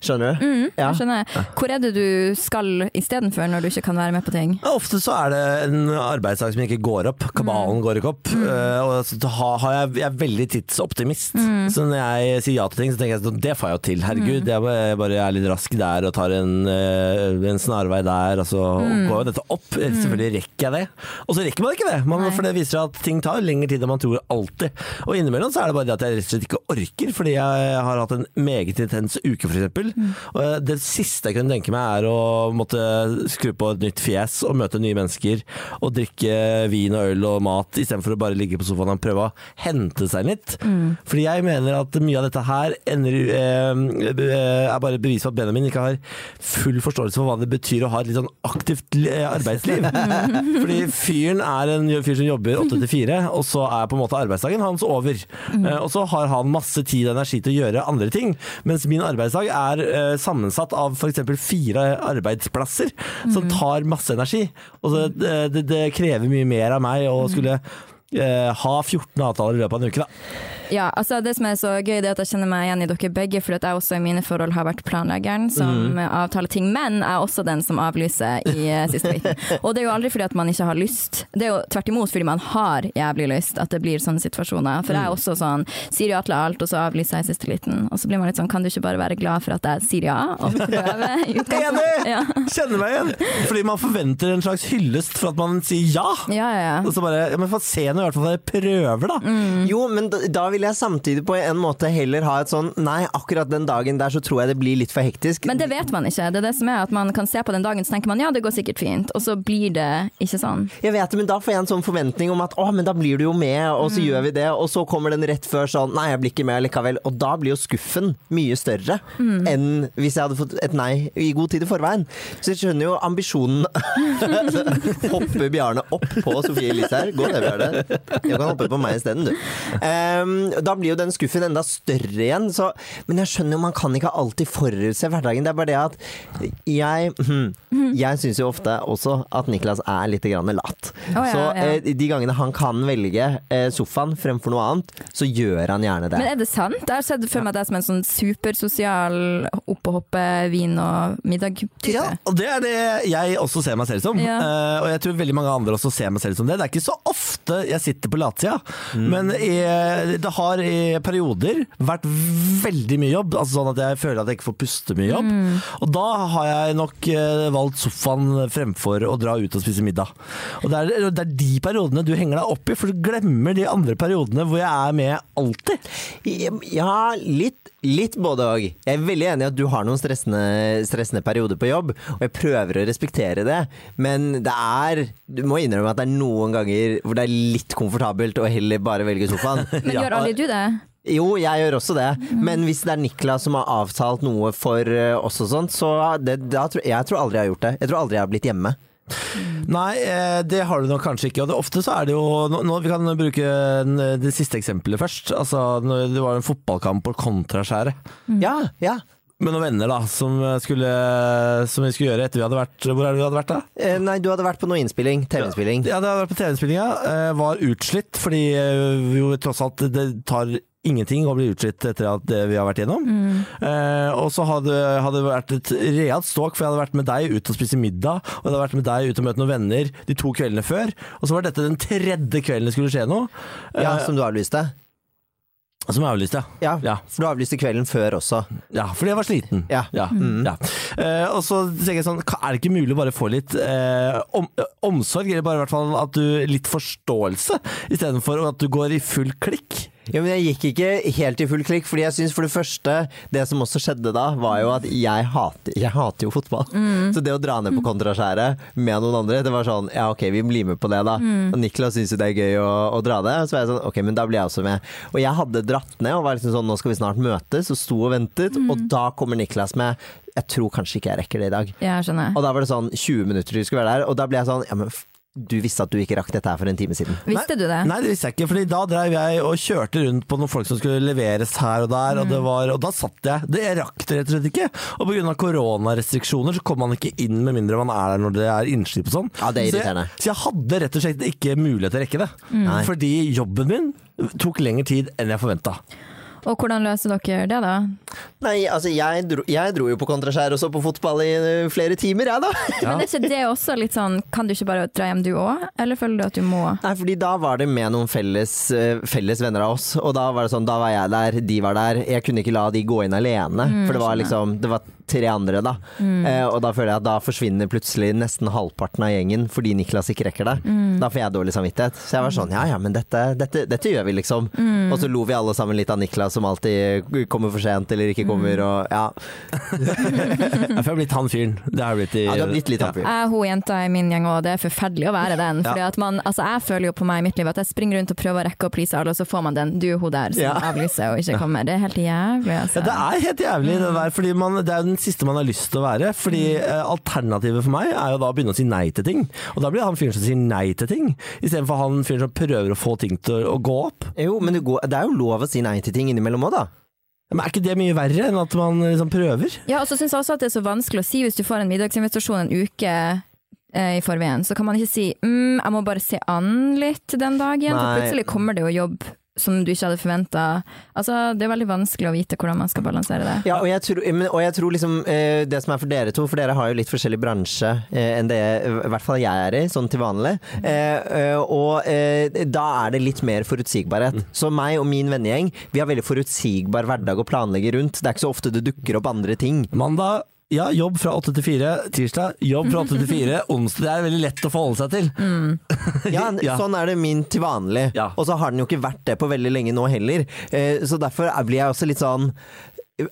Speaker 2: Skjønner du? ja.
Speaker 3: Mm. Jeg skjønner. Hvor er det du skal istedenfor når du ikke kan være med på ting?
Speaker 1: Ja, Ofte så er det en arbeidsdag som ikke går opp. Kabalen går ikke opp. Eh, Og så har- har jeg, jeg er veldig tidsoptimist. Så når jeg sier ja til ting, så tenker jeg sånn Det får jeg jo til. Herregud. Jeg bare, bare er litt rask der og tar en, eh, en snarvei der. Og så går jo dette opp. Eh, Selvfølgelig rekker jeg det. Og så rekker man ikke det. Man,
Speaker 3: Nei.
Speaker 1: for det viser at ting tar lengre tid enn man tror alltid. Og innimellom så er det bare det at jeg rett og slett ikke orker, fordi jeg har hatt en meget intens uke, f.eks. eksempel. Og eh, det siste jeg kunne tenke meg, er å måtte skru på et nytt fjes og møte nye mennesker og drikke vin og øl og mat, istedenfor å bare ligge på sofaen og prøve å hente seg litt. Fordi jeg mener at mye av dette her ender, eh, eh, er bare et bevis på at Benjamin ikke har full forståelse for hva det betyr å ha et litt sånn aktivt li- eh, arbeidsliv. Fordi fyren er en fyr som jobber åtte til fire, og så er på en måte arbeidsdagen hans over. Eh, Og så har han masse tid og energi til å gjøre andre ting, mens min arbeidsdag er eh, sammensatt av f.eks. fire arbeidsplasser som tar masse energi. Og så, det, det, det krever mye mer av meg å skulle eh, ha 14 avtaler i løpet av en uke, da.
Speaker 3: Ja, altså Det som er så gøy, det er at jeg kjenner meg igjen i dere begge, for at jeg også i mine forhold har vært planleggeren som eh, avtaler ting, men jeg er også den som avlyser i eh, siste liten. Og det er jo aldri fordi at man ikke har lyst, det er jo tvert imot fordi man har jævlig lyst at det blir sånne situasjoner. For jeg er også sånn, sier ja til alt, og så avlyser jeg i siste liten. Og så blir man litt sånn, kan du ikke bare være glad for at jeg sier ja, og prøver? i utgangspunktet?
Speaker 1: Enig!
Speaker 3: Ja.
Speaker 1: Kjenner meg igjen! Fordi man forventer en slags hyllest for at man sier ja.
Speaker 3: Ja, ja, ja.
Speaker 1: Og så bare, ja, men få se nå i hvert fall at jeg prøver, da.
Speaker 3: Mm.
Speaker 2: Jo, men da, da vil vil jeg samtidig på en måte heller ha et sånn Nei, akkurat den dagen der så tror jeg det blir litt for hektisk.
Speaker 3: Men det vet man ikke. Det er det som er at man kan se på den dagen, så tenker man ja, det går sikkert fint, og så blir det ikke sånn.
Speaker 2: Jeg vet det, men da får jeg en sånn forventning om at å, men da blir du jo med, og så gjør vi det. Og så kommer den rett før sånn nei, jeg blir ikke med likevel. Og da blir jo skuffen mye større enn hvis jeg hadde fått et nei i god tid i forveien. Så jeg skjønner jo ambisjonen. Hopper Bjarne opp på Sofie Elise her? Gå ned, Bjarne. Du kan hoppe på meg isteden, du. Ehm, da blir jo den skuffen enda større igjen. Så, men jeg skjønner jo, man kan ikke alltid forutse hverdagen. Det er bare det at jeg hm, Jeg syns jo ofte også at Niklas er litt grann lat.
Speaker 3: Å, ja,
Speaker 2: så
Speaker 3: ja.
Speaker 2: eh, de gangene han kan velge eh, sofaen fremfor noe annet, så gjør han gjerne det.
Speaker 3: Men er det sant? Jeg har sett for meg deg som en sånn supersosial opp og hoppe, vin og middag-type.
Speaker 2: Ja.
Speaker 1: Og det er det jeg også ser meg selv som.
Speaker 3: Ja.
Speaker 1: Eh, og jeg tror veldig mange andre også ser meg selv som det. Det er ikke så ofte jeg sitter på latsida, men i, det har i perioder vært veldig mye jobb. Altså sånn at jeg føler at jeg ikke får puste mye jobb. Og da har jeg nok eh, valgt sofaen fremfor å dra ut og spise middag. Og det er, det er de periodene du henger deg opp i, for du glemmer de andre periodene hvor jeg er med alltid.
Speaker 2: Ja, litt, litt både og. Jeg er veldig enig i at du har noen stressende, stressende perioder på jobb, og jeg prøver å respektere det, men det er Du må innrømme at det er noen ganger hvor det er litt komfortabelt å heller bare velge sofaen.
Speaker 3: Men
Speaker 2: Ja.
Speaker 3: gjør aldri du Mm. det?
Speaker 2: Jo, jeg gjør også det, men hvis det er Niklas som har avtalt noe for eh, oss og sånt, så det, da tror, jeg tror aldri jeg har gjort det. Jeg tror aldri jeg har blitt hjemme.
Speaker 1: Nei, eh, det har du nok kanskje ikke. Og det, ofte så er det jo nå, nå, Vi kan bruke den- det siste eksempelet først. Altså, når det var en fotballkamp på Kontraskjæret
Speaker 3: Mm.
Speaker 2: Ja, ja.
Speaker 1: med noen venner da som, skulle, som vi skulle gjøre etter vi hadde vært Hvor er det vi hadde vært da?
Speaker 2: Eh, Nei, du hadde vært på noe innspilling. TV-innspilling.
Speaker 1: Ja, det hadde vært på TV-spillinga. eh, Var utslitt, fordi eh, vi jo tross alt det tar ingenting å bli utslitt etter at det vi har vært gjennom.
Speaker 3: Mm.
Speaker 1: Eh, og så hadde hadde det vært et realt ståk, for jeg hadde vært med deg ut og spise middag, og jeg hadde vært med deg ut og møte noen venner de to kveldene før. Og så var dette den tredje kvelden det skulle skje noe. eh,
Speaker 2: Ja, som du avlyste?
Speaker 1: Som er avlyst, ja.
Speaker 2: Ja,
Speaker 1: Ja.
Speaker 2: for du avlyste kvelden før også.
Speaker 1: Ja, fordi jeg var sliten.
Speaker 2: Ja. Mm.
Speaker 1: ja. Eh, og så tenker jeg sånn, ka- er det ikke mulig å bare få litt eh, om, eh, omsorg, eller bare i hvert fall at du litt forståelse, istedenfor at du går i full klikk?
Speaker 2: Ja, men jeg gikk ikke helt i full klikk, fordi jeg syns for det første Det som også skjedde da, var jo at jeg hater, jeg hater jo fotball. Så det å dra ned på kontraskjæret med noen andre, det var sånn ja, ok, vi blir med på det, da. Og Niklas syns jo det er gøy å, å dra det. Så var jeg sånn ok, men da blir jeg også med. Og jeg hadde dratt ned og var liksom sånn nå skal vi snart møtes, og sto og ventet, og da kommer Niklas med jeg tror kanskje ikke jeg rekker det i dag.
Speaker 3: Ja, skjønner.
Speaker 2: Og da var det sånn 20 minutter du skulle være der, og da ble jeg sånn ja, men f- du visste at du ikke rakk dette her for en time siden.
Speaker 3: Visste du det?
Speaker 1: Nei, det visste jeg ikke, Fordi da drev jeg og kjørte rundt på noen folk som skulle leveres her og der,
Speaker 3: Mm.
Speaker 1: og, det var, og da satt jeg. Det jeg rakk det rett og slett ikke. Og pga. koronarestriksjoner så kom man ikke inn med mindre man er der når det er innslipp og sånn.
Speaker 2: Ja, det
Speaker 1: så,
Speaker 2: er
Speaker 1: jeg,
Speaker 2: irriterende.
Speaker 1: så jeg hadde rett og slett ikke mulighet til å rekke det.
Speaker 3: Mm.
Speaker 2: Nei.
Speaker 1: Fordi jobben min tok lengre tid enn jeg forventa.
Speaker 3: Og hvordan løser dere det, da?
Speaker 2: Nei, altså jeg dro, jeg dro jo på kontraskjær og så på fotball i ø, flere timer, jeg da.
Speaker 3: Men er ikke det også litt sånn Kan du ikke bare dra hjem du òg, eller føler du at du må?
Speaker 2: Nei, fordi da var det med noen felles, ø, felles venner av oss, og da var det sånn, da var jeg der, de var der. Jeg kunne ikke la de gå inn alene, for det var liksom, det var tre andre da. Eh, og da føler jeg at da forsvinner plutselig nesten halvparten av gjengen, fordi Niklas ikke rekker det. Da får jeg dårlig samvittighet. Så jeg var sånn, ja ja, men dette, dette, dette gjør vi liksom. Og så lo vi alle sammen litt av Niklas, som alltid kommer for sent, eller ikke kommer, og ja.
Speaker 3: Mm.
Speaker 1: Ja, for jeg har blitt han fyren. Det har jeg blitt i
Speaker 2: Ja, du har blitt litt
Speaker 1: Ja.
Speaker 2: han fyren.
Speaker 3: Jeg er hun jenta i min gjeng, og det er forferdelig å være den. Fordi at man, altså Jeg føler jo på meg i mitt liv at jeg springer rundt og prøver å rekke å please alle, og så får man den 'du er hun der' som
Speaker 2: Ja.
Speaker 3: avlyser og ikke kommer. Det er helt jævlig,
Speaker 1: Ja,
Speaker 3: altså.
Speaker 1: det er helt jævlig, det der, fordi man, det er jo den siste man har lyst til å være. Fordi eh, Alternativet for meg er jo da å begynne å si nei til ting. Og da blir han fyren som sier nei til ting, istedenfor han fyren som prøver å få ting til å, å gå opp.
Speaker 2: Jo, men det, går, det er jo lov å si nei til ting innimellom òg, da.
Speaker 1: Men Er ikke det mye verre enn at man liksom prøver?
Speaker 3: Ja, og så syns jeg også at det er så vanskelig å si hvis du får en middagsinvitasjon en uke eh, i forveien, så kan man ikke si mm, 'jeg må bare se an litt den dagen',
Speaker 2: Nei.
Speaker 3: for plutselig kommer det jo jobb som du ikke hadde forventa. Altså, det er veldig vanskelig å vite hvordan man skal balansere det.
Speaker 2: Ja, og jeg tror, men, og jeg tror liksom eh, det som er for dere to, for dere har jo litt forskjellig bransje eh, enn det i hvert fall jeg er i, sånn til vanlig. Eh, eh, og eh, da er det litt mer forutsigbarhet. Så meg og min vennegjeng, vi har veldig forutsigbar hverdag å planlegge rundt. Det er ikke så ofte det dukker opp andre ting.
Speaker 1: Mandag Ja, jobb fra åtte til fire tirsdag, jobb fra åtte til fire onsdag. Det er veldig lett å forholde seg til.
Speaker 2: Ja, n-
Speaker 1: Ja.
Speaker 2: sånn er det min til vanlig.
Speaker 1: Ja.
Speaker 2: Og så har den jo ikke vært det på veldig lenge nå heller. Eh, Så derfor er- blir jeg også litt sånn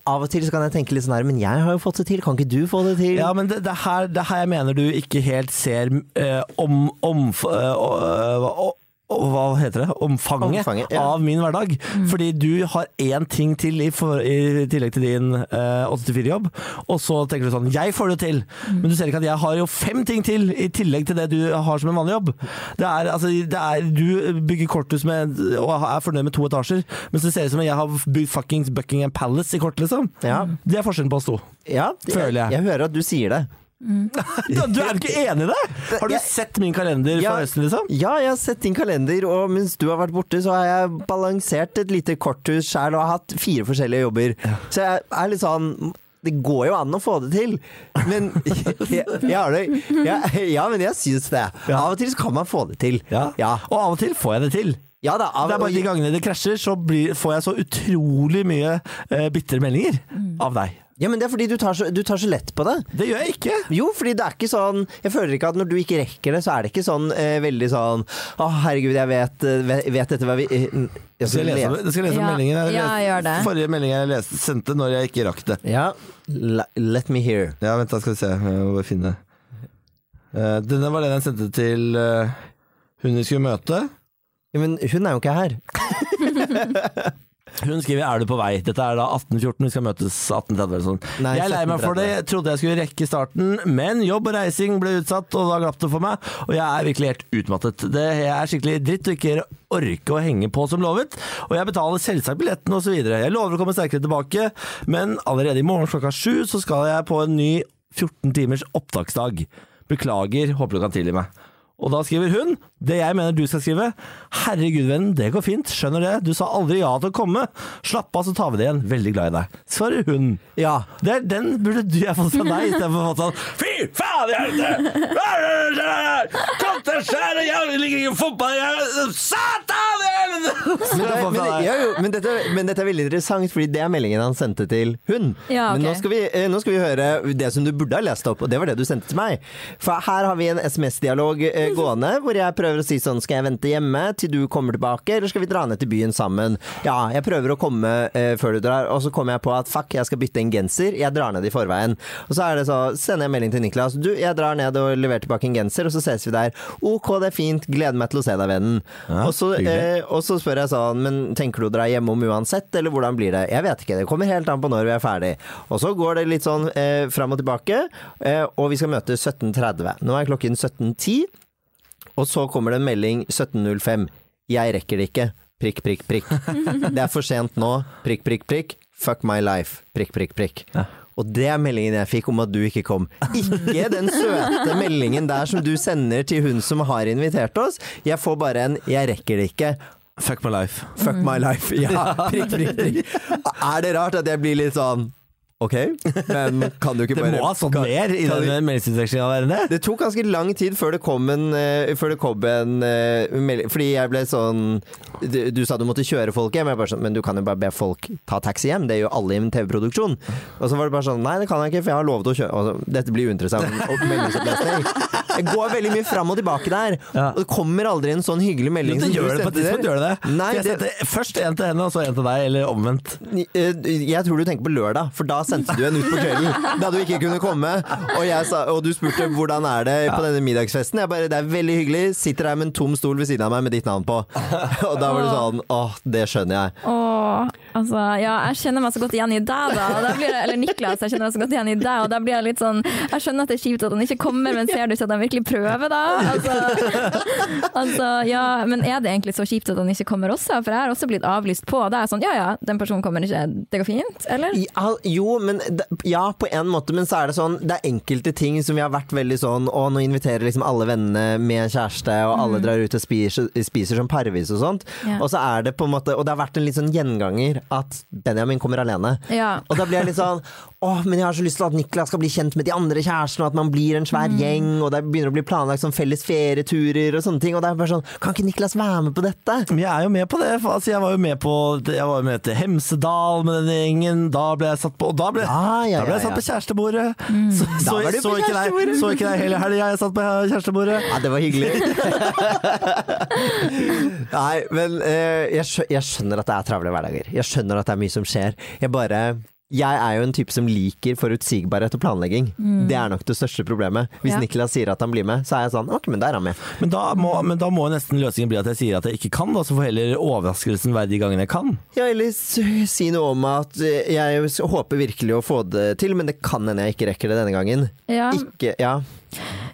Speaker 2: Av og til så kan jeg tenke litt sånn her, men jeg har jo fått det til, kan ikke du få det til?
Speaker 1: Ja, men det, det, er her, det er her jeg mener du ikke helt ser eh, om, om, eh, å- å- å- hva heter det? Omfanget,
Speaker 2: Omfanget, ja.
Speaker 1: av min hverdag. Fordi du har én ting til i, for, i tillegg til din eh, 8-4-jobb, og så tenker du sånn 'jeg får det til', men du ser ikke at jeg har jo fem ting til i tillegg til det du har som en vanlig jobb. Det er, altså, det er, du bygger korthus med, og er fornøyd med to etasjer, mens det ser ut som at jeg har bygd fuckings Buckingham Palace i kort, liksom.
Speaker 2: Ja.
Speaker 1: Det er forskjellen på oss to.
Speaker 2: Ja,
Speaker 1: Føler jeg.
Speaker 2: jeg hører at du sier det.
Speaker 1: Da, du er jo ikke enig i det? Har du
Speaker 2: Jeg-
Speaker 1: sett min kalender
Speaker 2: Ja.
Speaker 1: fra høsten, liksom?
Speaker 2: Ja, jeg har sett din kalender, og mens du har vært borte, så har jeg balansert et lite korthus sjæl og har hatt fire forskjellige jobber. Så jeg er litt sånn det går jo an å få det til, men jeg, jeg har det, jeg, ja, men jeg syns det.
Speaker 1: Ja.
Speaker 2: Av og til så kan man få det til. ja.
Speaker 1: Og av og til får jeg det til.
Speaker 2: Ja da, av,
Speaker 1: Det er bare de gangene det krasjer, så blir, får jeg så utrolig mye eh, bitre meldinger av deg.
Speaker 2: ja, men det er fordi du tar, så, du tar så lett på det.
Speaker 1: Det gjør jeg ikke.
Speaker 2: Jo, fordi det er ikke sånn Jeg føler ikke at når du ikke rekker det, så er det ikke sånn eh, veldig sånn Å, herregud, jeg vet, eh, vet, vet dette hva vi eh, mm, jeg
Speaker 1: Skal jeg lese,
Speaker 2: le-
Speaker 1: om- skal jeg lese om
Speaker 3: Ja.
Speaker 1: meldingen jeg
Speaker 3: Ja,
Speaker 1: leste-
Speaker 3: gjør det.
Speaker 1: forrige meldingen jeg leste, sendte når jeg ikke rakk det?
Speaker 2: Ja, la- let me hear.
Speaker 1: Ja, vent da, skal vi se. Jeg må bare finne. Eh, denne var den jeg sendte til eh, hun vi skulle møte.
Speaker 2: Ja, men hun er jo ikke her.
Speaker 1: Hun skriver 'Er du på vei?' Dette er da 1814, vi skal møtes 1830 eller sånn.
Speaker 2: Nei,
Speaker 1: jeg er lei meg for det, jeg trodde jeg skulle rekke starten, men jobb og reising ble utsatt, og da glapp det for meg. Og jeg er virkelig helt utmattet. Det er skikkelig dritt å ikke orke å henge på som lovet, og jeg betaler selvsagt billetten osv. Jeg lover å komme sterkere tilbake, men allerede i morgen klokka sju så skal jeg på en ny 14 timers opptaksdag. Beklager, håper du kan tilgi meg. Og da skriver hun det jeg mener du skal skrive. Herregud, vennen, det går fint. Skjønner det. Du sa aldri ja til å komme. Slapp av, så tar vi det igjen. Veldig glad i deg. Svarer hun.
Speaker 2: Ja.
Speaker 1: Det er den burde du ha fått fra deg, istedenfor å få sånn Fy faen i helvete! Hva er det som skjer her? Katter skjærer, jeg ligger ikke i fotball jeg- Satan i helvete!
Speaker 2: Men, det,
Speaker 1: Skal jeg få
Speaker 2: men,
Speaker 1: fra
Speaker 2: det-
Speaker 1: deg.
Speaker 2: ja, jo, men, dette, men dette er veldig interessant, fordi det er meldingen han sendte til hun.
Speaker 3: Ja, ok.
Speaker 2: Men nå skal, vi, eh, nå skal vi høre det som du burde ha lest opp, og det var det du sendte til meg. For her har vi en SMS-dialog eh,
Speaker 3: Mhm.
Speaker 2: gående, hvor jeg prøver å si sånn Skal jeg vente hjemme til du kommer tilbake, eller skal vi dra ned til byen sammen? Ja, jeg prøver å komme eh, før du drar, og så kommer jeg på at fuck, jeg skal bytte en genser. Jeg drar ned i forveien. Og så er det så, sender jeg melding til Niklas. Du, jeg drar ned og leverer tilbake en genser, og så ses vi der. Ok, det er fint. Gleder meg til å se deg, vennen.
Speaker 1: Ja,
Speaker 2: og så
Speaker 1: hyggelig.
Speaker 2: eh, og så spør jeg sånn, men tenker du å dra hjemom uansett, eller hvordan blir det? Jeg vet ikke, det kommer helt an på når vi er ferdig. Og så går det litt sånn eh, fram og tilbake, eh, og vi skal møte 17.30. Nå er klokken 17.10, og så kommer det en melding 17.05. Jeg rekker det ikke. Prikk, prikk, prikk. Det er for sent nå. Prikk, prikk, prikk. Fuck my life. Prikk, prikk, prikk. Og det er meldingen jeg fikk om at du ikke kom. Ikke den søte meldingen der som du sender til hun som har invitert oss. Jeg får bare en 'jeg rekker det ikke'.
Speaker 1: Fuck my life.
Speaker 2: Fuck my life. Ja, prikk, prikk, prikk. Er det rart at jeg blir litt sånn Ok, men kan du ikke
Speaker 1: Det
Speaker 2: bare
Speaker 1: må ha stått mer i
Speaker 2: kan vi-
Speaker 1: denne meldingsutvekslingen av dere.
Speaker 2: det tok ganske lang tid før det kom en, eh, før det kom en eh, melding. Fordi jeg ble sånn du, du sa du måtte kjøre folk hjem. Jeg bare sånn, men du kan jo bare be folk ta taxi hjem. Det gjør jo alle i en TV-produksjon. Og så var det bare sånn Nei, det kan jeg ikke, for jeg har lovet å kjøre og så, Dette blir uinteressant. og meldingopplesning. Jeg går veldig mye fram og tilbake der.
Speaker 1: Ja.
Speaker 2: Og det kommer aldri en sånn hyggelig
Speaker 1: Jo,
Speaker 2: melding.
Speaker 1: det
Speaker 2: som du
Speaker 1: gjør det på et
Speaker 2: sendte
Speaker 1: tidspunkt.
Speaker 2: der.
Speaker 1: Gjør det. det.
Speaker 2: Nei,
Speaker 1: For jeg
Speaker 2: det-
Speaker 1: sendte først en til henne, og så en til deg, eller omvendt.
Speaker 2: Eh, Jeg tror du tenker på lørdag, for da sendte du en ut på kvelden. Da du ikke kunne komme. Og, jeg sa, og du spurte hvordan er det på denne middagsfesten. Jeg bare det er veldig hyggelig, sitter her med en tom stol ved siden av meg med ditt navn på. Og da var det sånn åh, det skjønner jeg.
Speaker 3: Åh, altså, ja, jeg kjenner meg så godt igjen i deg, da. Og da blir jeg, eller Niklas, jeg kjenner meg så godt igjen i deg. Og da blir jeg litt sånn Jeg skjønner at det er kjipt at han ikke kommer, men ser du ikke at han virkelig prøver, da? Altså, altså, ja, men er det egentlig så kjipt at han ikke kommer også? For jeg har også blitt avlyst på. og Da er jeg sånn ja ja, den personen kommer ikke, det går fint, eller?
Speaker 2: I all- Jo, men det- ja, på en måte, men så er det sånn Det er enkelte ting som vi har vært veldig sånn Å, nå inviterer liksom alle vennene med kjæreste, og alle drar ut og spiser, spiser som parvis og sånt.
Speaker 3: Mm. Ja.
Speaker 2: Og så er det på en måte Og det har vært en litt sånn gjenganger at Benjamin kommer alene.
Speaker 3: Ja.
Speaker 2: Og da blir jeg
Speaker 3: Mm.
Speaker 2: litt sånn Åh, men jeg har så lyst til at Niklas skal bli kjent med de andre kjærestene, og at man blir en svær gjeng, og det begynner å bli planlagt sånn felles ferieturer og sånne ting. Og det er bare sånn Kan ikke Niklas være med på dette?
Speaker 1: Men Jeg er jo med på det. For, altså, jeg var jo med på Jeg var jo med til Hemsedal med den gjengen. Da ble jeg satt på Og da ble,
Speaker 2: Ja, Ah, ja,
Speaker 1: da ble jeg
Speaker 2: ja,
Speaker 1: satt
Speaker 2: ja.
Speaker 1: på kjærestebordet. Så, så,
Speaker 2: Da var du
Speaker 1: så,
Speaker 2: på
Speaker 1: ikke deg,
Speaker 2: kjærestebordet.
Speaker 1: så ikke deg hele helga jeg satt på kjærestebordet.
Speaker 2: Ja, det var hyggelig. Nei, men eh, jeg, skjø jeg skjønner at det er travle hverdager. Jeg skjønner at det er mye som skjer. Jeg bare jeg er jo en type som liker forutsigbarhet og planlegging. Det er nok det største problemet. Hvis
Speaker 3: Mm. Ja.
Speaker 2: Niklas sier at han blir med, så er jeg sånn Ok, men der er han med.
Speaker 1: Men da, må, men da må nesten løsningen bli at jeg sier at jeg ikke kan, da, så får heller overraskelsen være de gangene jeg kan.
Speaker 2: Ja, eller s- si noe om at eh, jeg s- håper virkelig å få det til, men det kan hende jeg ikke rekker det denne gangen.
Speaker 3: Ja,
Speaker 2: Ikke Ja.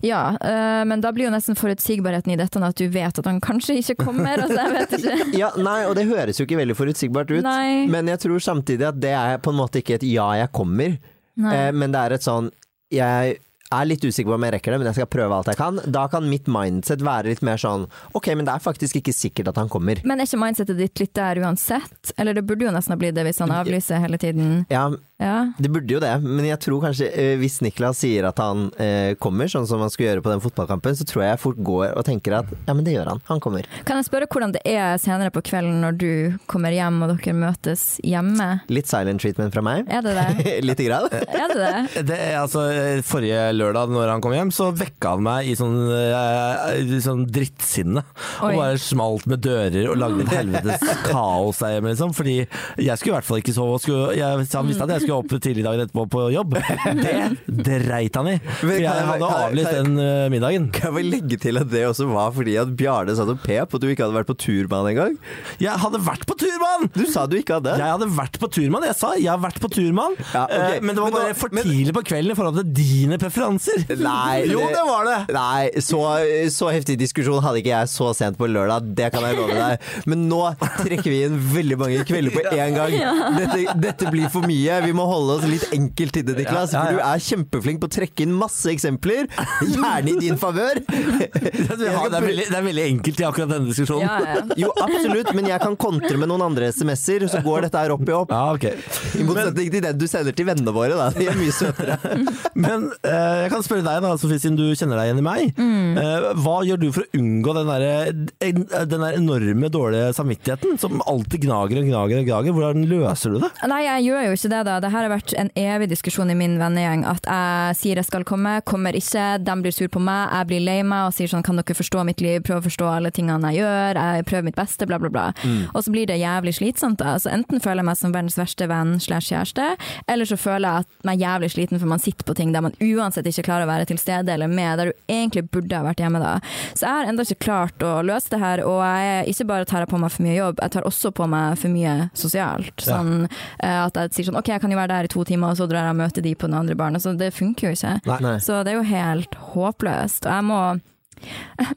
Speaker 3: ja eh, men da blir jo nesten forutsigbarheten i dette at du vet at han kanskje ikke kommer. Altså, jeg vet ikke.
Speaker 2: ja nei, og det høres jo ikke veldig forutsigbart ut.
Speaker 3: Nei.
Speaker 2: Men jeg tror samtidig at det er på en måte ikke et ja, jeg kommer,
Speaker 3: Nei.
Speaker 2: eh, men det er et sånn Jeg er litt usikker på om jeg rekker det, men jeg skal prøve alt jeg kan. Da kan mitt mindset være litt mer sånn Ok, men det er faktisk ikke sikkert at han kommer.
Speaker 3: Men er ikke mindsetet ditt litt der uansett? Eller det burde jo nesten ha blitt det hvis han avlyser hele tiden.
Speaker 2: Ja,
Speaker 3: Ja.
Speaker 2: det burde jo det, men jeg tror kanskje eh, hvis Niklas sier at han eh, kommer, sånn som han skulle gjøre på den fotballkampen, så tror jeg jeg fort går og tenker at ja, men det gjør han. Han kommer.
Speaker 3: Kan jeg spørre hvordan det er senere på kvelden når du kommer hjem og dere møtes hjemme?
Speaker 2: Litt silent treatment fra meg.
Speaker 3: Er det det?
Speaker 2: Lite grann.
Speaker 3: Er det det?
Speaker 1: Det, er altså, eh, forrige lørdag når han kom hjem, så vekka han meg i sånn, eh, i sånn drittsinne.
Speaker 3: Oi.
Speaker 1: Og bare smalt med dører og lagde et helvetes kaos der hjemme, liksom. Fordi jeg skulle i hvert fall ikke sove. og Skulle, jeg, så han visste at jeg skulle opp tidlig dagen etterpå på jobb. Det dreit han i. For
Speaker 2: Men kan
Speaker 1: jeg
Speaker 2: jeg-
Speaker 1: hadde
Speaker 2: kan-
Speaker 1: avlyst
Speaker 2: kan-
Speaker 1: den eh, middagen.
Speaker 2: Kan jeg bare legge til at det også var fordi at Bjarne satt og pep og du ikke hadde vært på turbanen engang?
Speaker 1: Jeg hadde vært på tur, mann!
Speaker 2: Du sa du ikke hadde.
Speaker 1: Jeg hadde vært på turmann, jeg sa. Jeg har vært på turmann.
Speaker 2: Ja, ok.
Speaker 1: Eh, Men det var
Speaker 2: Men da-
Speaker 1: bare for
Speaker 2: men-
Speaker 1: tidlig på kvelden i forhold til dine preferanser.
Speaker 2: Nei,
Speaker 1: jo,
Speaker 2: det-
Speaker 1: det var det!
Speaker 2: Nei, så, så heftig diskusjon hadde ikke jeg så sent på lørdag, det kan jeg love deg. Men nå trekker vi inn veldig mange kvelder på én gang. Dette, dette blir for mye. Vi må holde oss litt enkelt til det, Niklas.
Speaker 1: Ja, ja, ja.
Speaker 2: For du er kjempeflink på å trekke inn masse eksempler, gjerne i din favør.
Speaker 1: Det er, det, er veldig, det er veldig enkelt i akkurat denne diskusjonen.
Speaker 3: Ja, ja.
Speaker 2: Jo, absolutt, men jeg kan kontre med noen andre SMS-er, så går dette her opp i opp.
Speaker 1: Ja, ok.
Speaker 2: I motsetning til den du sender til vennene våre, da. De er mye søtere.
Speaker 1: Men eh, jeg kan spørre deg, da, Sofie, siden du kjenner deg igjen i meg. Eh, hva gjør du for å unngå den der, en- den der enorme dårlige samvittigheten som alltid gnager og gnager og gnager? Hvordan løser du det?
Speaker 3: Nei, jeg gjør jo ikke det, da. Det her har vært en evig diskusjon i min vennegjeng. At jeg sier jeg skal komme, kommer ikke. De blir sur på meg, jeg blir lei meg og sier sånn kan dere forstå mitt liv, prøv å forstå alle tingene jeg gjør, jeg prøver mitt beste, bla, bla, bla. Og så blir det jævlig slitsomt, da. Så enten føler jeg meg som verdens verste venn slash kjæreste, eller så føler jeg at meg jævlig sliten for man sitter på ting der man uansett ikke klarer å være til stede eller med, der du egentlig burde ha vært hjemme da. Så jeg har enda ikke klart å løse det her, og jeg ikke bare tar jeg på meg for mye jobb, jeg tar også på meg for mye sosialt. Sånn, eh, At jeg sier sånn ok, jeg kan jo være der i to timer, og så drar jeg og møter de på den andre barna. Så det funker jo ikke.
Speaker 2: Nei.
Speaker 3: Så det er jo helt håpløst. Og jeg må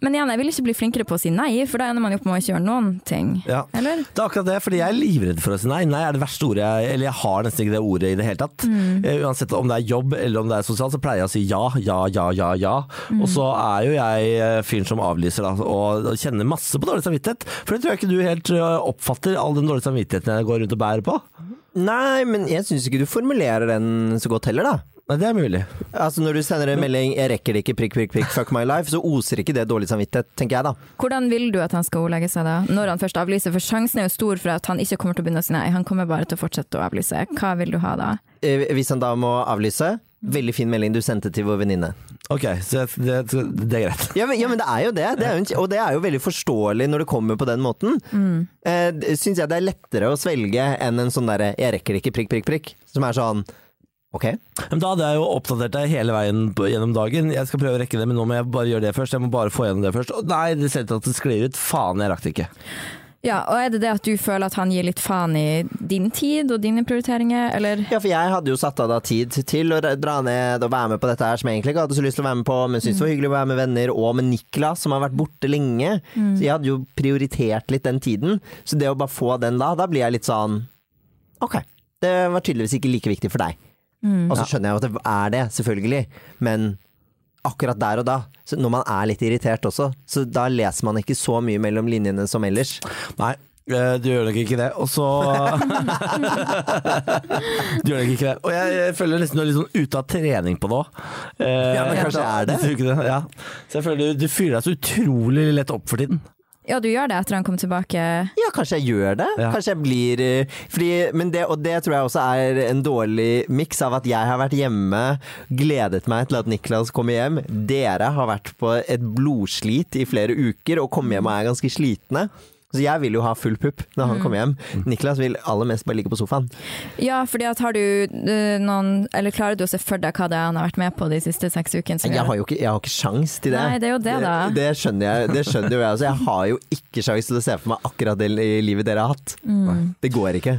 Speaker 3: Men igjen, jeg vil ikke bli flinkere på å si nei, for da ender man jo opp med å ikke gjøre noen ting.
Speaker 1: Ja.
Speaker 3: Eller?
Speaker 1: Det er akkurat det, fordi jeg er livredd for å si nei. Nei er det verste ordet jeg Eller jeg har nesten ikke det ordet i det hele tatt. Eh, Uansett om det er jobb eller om det er sosialt, så pleier jeg å si ja, ja, ja, ja, ja. Og så er jo jeg eh, fyren som avlyser, da, og og kjenner masse på dårlig samvittighet. For det tror jeg ikke du helt eh, oppfatter, all den dårlige samvittigheten jeg går rundt og bærer på.
Speaker 2: Nei, men jeg syns ikke du formulerer den så godt heller, da.
Speaker 1: Nei, det er mulig.
Speaker 2: Altså Når du sender en melding 'jeg rekker det ikke, prikk, prikk, prikk, fuck my life', så oser ikke det dårlig samvittighet, tenker jeg da.
Speaker 3: Hvordan vil du at han skal ordlegge seg da, når han først avlyser? For sjansen er jo stor for at han ikke kommer til å begynne å si nei, han kommer bare til å fortsette å avlyse. Hva vil du ha da?
Speaker 2: Eh, Hvis han da må avlyse, veldig fin melding du sendte til vår venninne.
Speaker 1: Ok, så jeg- det, det er greit.
Speaker 2: Ja, men, ja, men det er jo det, det er jo, en- og det er jo veldig forståelig når det kommer på den måten. Mm. Syns jeg det er lettere å svelge enn en sånn derre 'jeg rekker det ikke, prikk, prikk, prikk', som er sånn ok.
Speaker 1: Men da hadde jeg jo oppdatert deg hele veien på, gjennom dagen. Jeg skal prøve å rekke det, men nå må jeg bare gjøre det først. Jeg må bare få gjennom det først. Å, nei, det ser ut til at det sklir ut. Faen, jeg rakk det ikke.
Speaker 3: Ja, og er det det at du føler at han gir litt faen i din tid og dine prioriteringer, eller?
Speaker 2: Ja, for jeg hadde jo satt av da tid til å dra ned og være med på dette her som jeg egentlig ikke hadde så lyst til å være med på, men syntes det var hyggelig å være med venner, og med Niklas som har vært borte lenge. Så jeg hadde jo prioritert litt den tiden. Så det å bare få den da, da blir jeg litt sånn Ok, det var tydeligvis ikke like viktig for deg. Og så skjønner jeg jo at det er det, selvfølgelig, men akkurat der og da, så når man er litt irritert også, så da leser man ikke så mye mellom linjene som ellers.
Speaker 1: Nei, Eh, Du gjør nok ikke det, og så Du gjør nok ikke det. Og jeg, jeg føler nesten du er litt sånn ute av trening på Eh, det òg.
Speaker 2: Ja, men kanskje er det?
Speaker 1: Ja. Så jeg føler du, du fyrer deg så utrolig lett opp for tiden.
Speaker 3: Ja, du gjør det etter han kom tilbake.
Speaker 2: Ja, kanskje jeg gjør det.
Speaker 1: Ja.
Speaker 2: Kanskje jeg blir eh, fordi, men det, Og det tror jeg også er en dårlig miks av at jeg har vært hjemme, gledet meg til at Niklas kommer hjem. Dere har vært på et blodslit i flere uker og kommer hjem og er ganske slitne. Så jeg vil jo ha full pupp når
Speaker 3: Mm.
Speaker 2: han kommer hjem. Niklas vil aller mest bare ligge på sofaen.
Speaker 3: Ja, fordi at har du eh, noen Eller klarer du å se for deg hva det er han har vært med på de siste seks ukene? som
Speaker 2: Jeg
Speaker 3: gjør
Speaker 2: har jo ikke, jeg har ikke sjans til det.
Speaker 3: Nei, det er jo det da.
Speaker 2: Det, det skjønner jeg, det skjønner jo jeg også. Jeg har jo ikke sjans til å se for meg akkurat det livet dere har hatt.
Speaker 3: Mm.
Speaker 2: Det går ikke.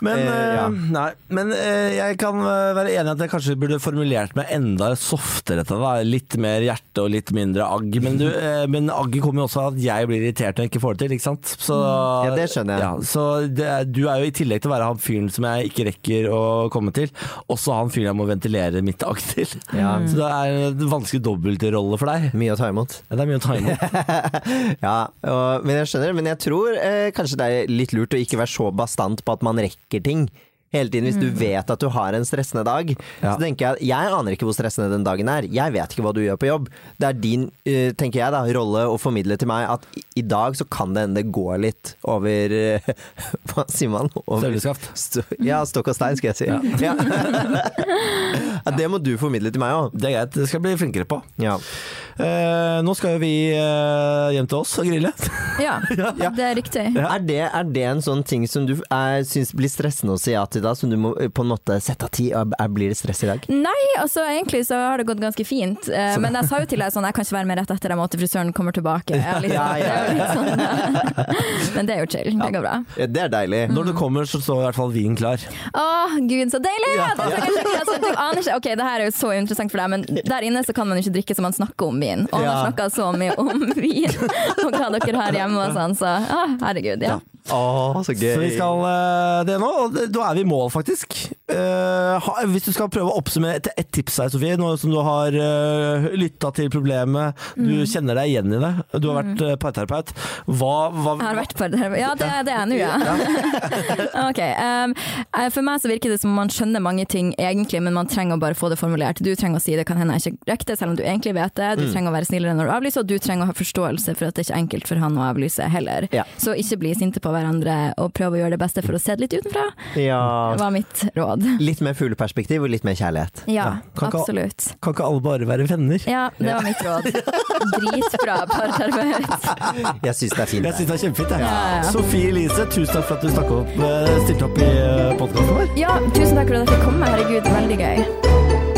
Speaker 1: Men,
Speaker 2: Eh, ja.
Speaker 1: eh, nei, men eh, jeg kan eh, være enig i at jeg kanskje burde formulert meg enda softere til det. da. Litt mer hjerte og litt mindre agg. Men, du, eh, men agget kommer jo også av at jeg blir irritert når jeg ikke får det til, ikke sant. Så,
Speaker 2: Mm. Ja, det skjønner jeg.
Speaker 1: Ja, så det, er- du er jo i tillegg til å være han fyren som jeg ikke rekker å komme til, også han fyren jeg må ventilere mitt agg til. Så det er en vanskelig dobbeltrolle for deg.
Speaker 2: Mye å ta imot.
Speaker 1: Ja, Det er mye å ta imot.
Speaker 2: Ja, og, men jeg skjønner, men jeg tror eh, kanskje det er litt lurt å ikke være så bastant på at man rekker ting. Hele tiden Hvis du vet at du har en stressende dag,
Speaker 1: Ja.
Speaker 2: så tenker jeg jeg aner ikke hvor stressende den dagen er. Jeg vet ikke hva du gjør på jobb. Det er din eh, tenker jeg da, rolle å formidle til meg at i, i dag så kan det hende det går litt over eh, Hva sier man? Over,
Speaker 1: Støvleskaft.
Speaker 2: Stå- ja, stokk og stein, skal jeg si. Ja. ja, det må du formidle til meg òg.
Speaker 1: Det er greit, det skal jeg bli flinkere på.
Speaker 2: Ja.
Speaker 1: Eh, nå skal jo vi eh, hjem til oss og grille.
Speaker 3: Ja, det er riktig.
Speaker 2: Er, det, er det en sånn ting som du er, syns blir stressende å si ja til da, som du må eh, på en måte sette av tid? Er, er, blir det stress i dag?
Speaker 3: Nei, altså egentlig så har det gått ganske fint. Eh, men jeg sa jo til deg sånn, jeg kan ikke være med rett etter jeg må til frisøren kommer tilbake. Jeg er litt,
Speaker 2: Ja, ja, ja.
Speaker 3: Det er jo litt sånn, men det er jo chill. Det går bra.
Speaker 2: Ja, det er deilig.
Speaker 1: Når du kommer, så står i hvert fall vinen klar.
Speaker 3: Å, gud, så deilig! Det er så kanskje ikke- altså, du aner ikke Ok, det her er jo så interessant for deg, men der inne så kan man jo ikke drikke så man snakker om vin. Og man
Speaker 2: Ja.
Speaker 3: snakker så mye om vin og hva dere har hjemme og sånn, så ah, herregud, ja.
Speaker 2: Å, så gøy.
Speaker 1: Så vi skal eh, det nå, og det- da er vi i mål faktisk. Eh, ha, hvis du skal prøve å oppsummere til ett tips her, Sofie, nå som du har uh, lytta til problemet,
Speaker 3: Mm.
Speaker 1: du kjenner deg igjen i det, du har vært eh, parterapeut. Hva, hva
Speaker 3: Jeg har vært på det. Ja, det, det er jeg nå, ja. ok. ehm, eh, for meg så virker det som om man skjønner mange ting egentlig, men man trenger å bare få det formulert. Du trenger å si det kan hende jeg ikke rekker det, selv om du egentlig vet det. Du trenger å være snillere når du avlyser, og du trenger å ha forståelse for at det er ikke er enkelt for han å avlyse heller.
Speaker 2: Ja.
Speaker 3: Så ikke bli sinte på hverandre, og prøv å gjøre det beste for å se det litt utenfra,
Speaker 2: Ja.
Speaker 3: var mitt råd.
Speaker 2: Litt mer fugleperspektiv og litt mer kjærlighet.
Speaker 3: Ja,
Speaker 1: kan ikke-
Speaker 3: absolutt.
Speaker 1: Kan ikke alle bare være venner?
Speaker 3: Ja, det var mitt råd. Dritbra parterapeut.
Speaker 2: Jeg syns det er
Speaker 1: Jeg
Speaker 2: fint. det.
Speaker 1: syns det er kjempefint. jeg.
Speaker 3: Ja, ja.
Speaker 1: Sofie Elise, tusen takk for at du stakk opp, eh, stilte opp i podkasten vår.
Speaker 3: Ja, tusen takk for at jeg fikk komme. Herregud, veldig gøy.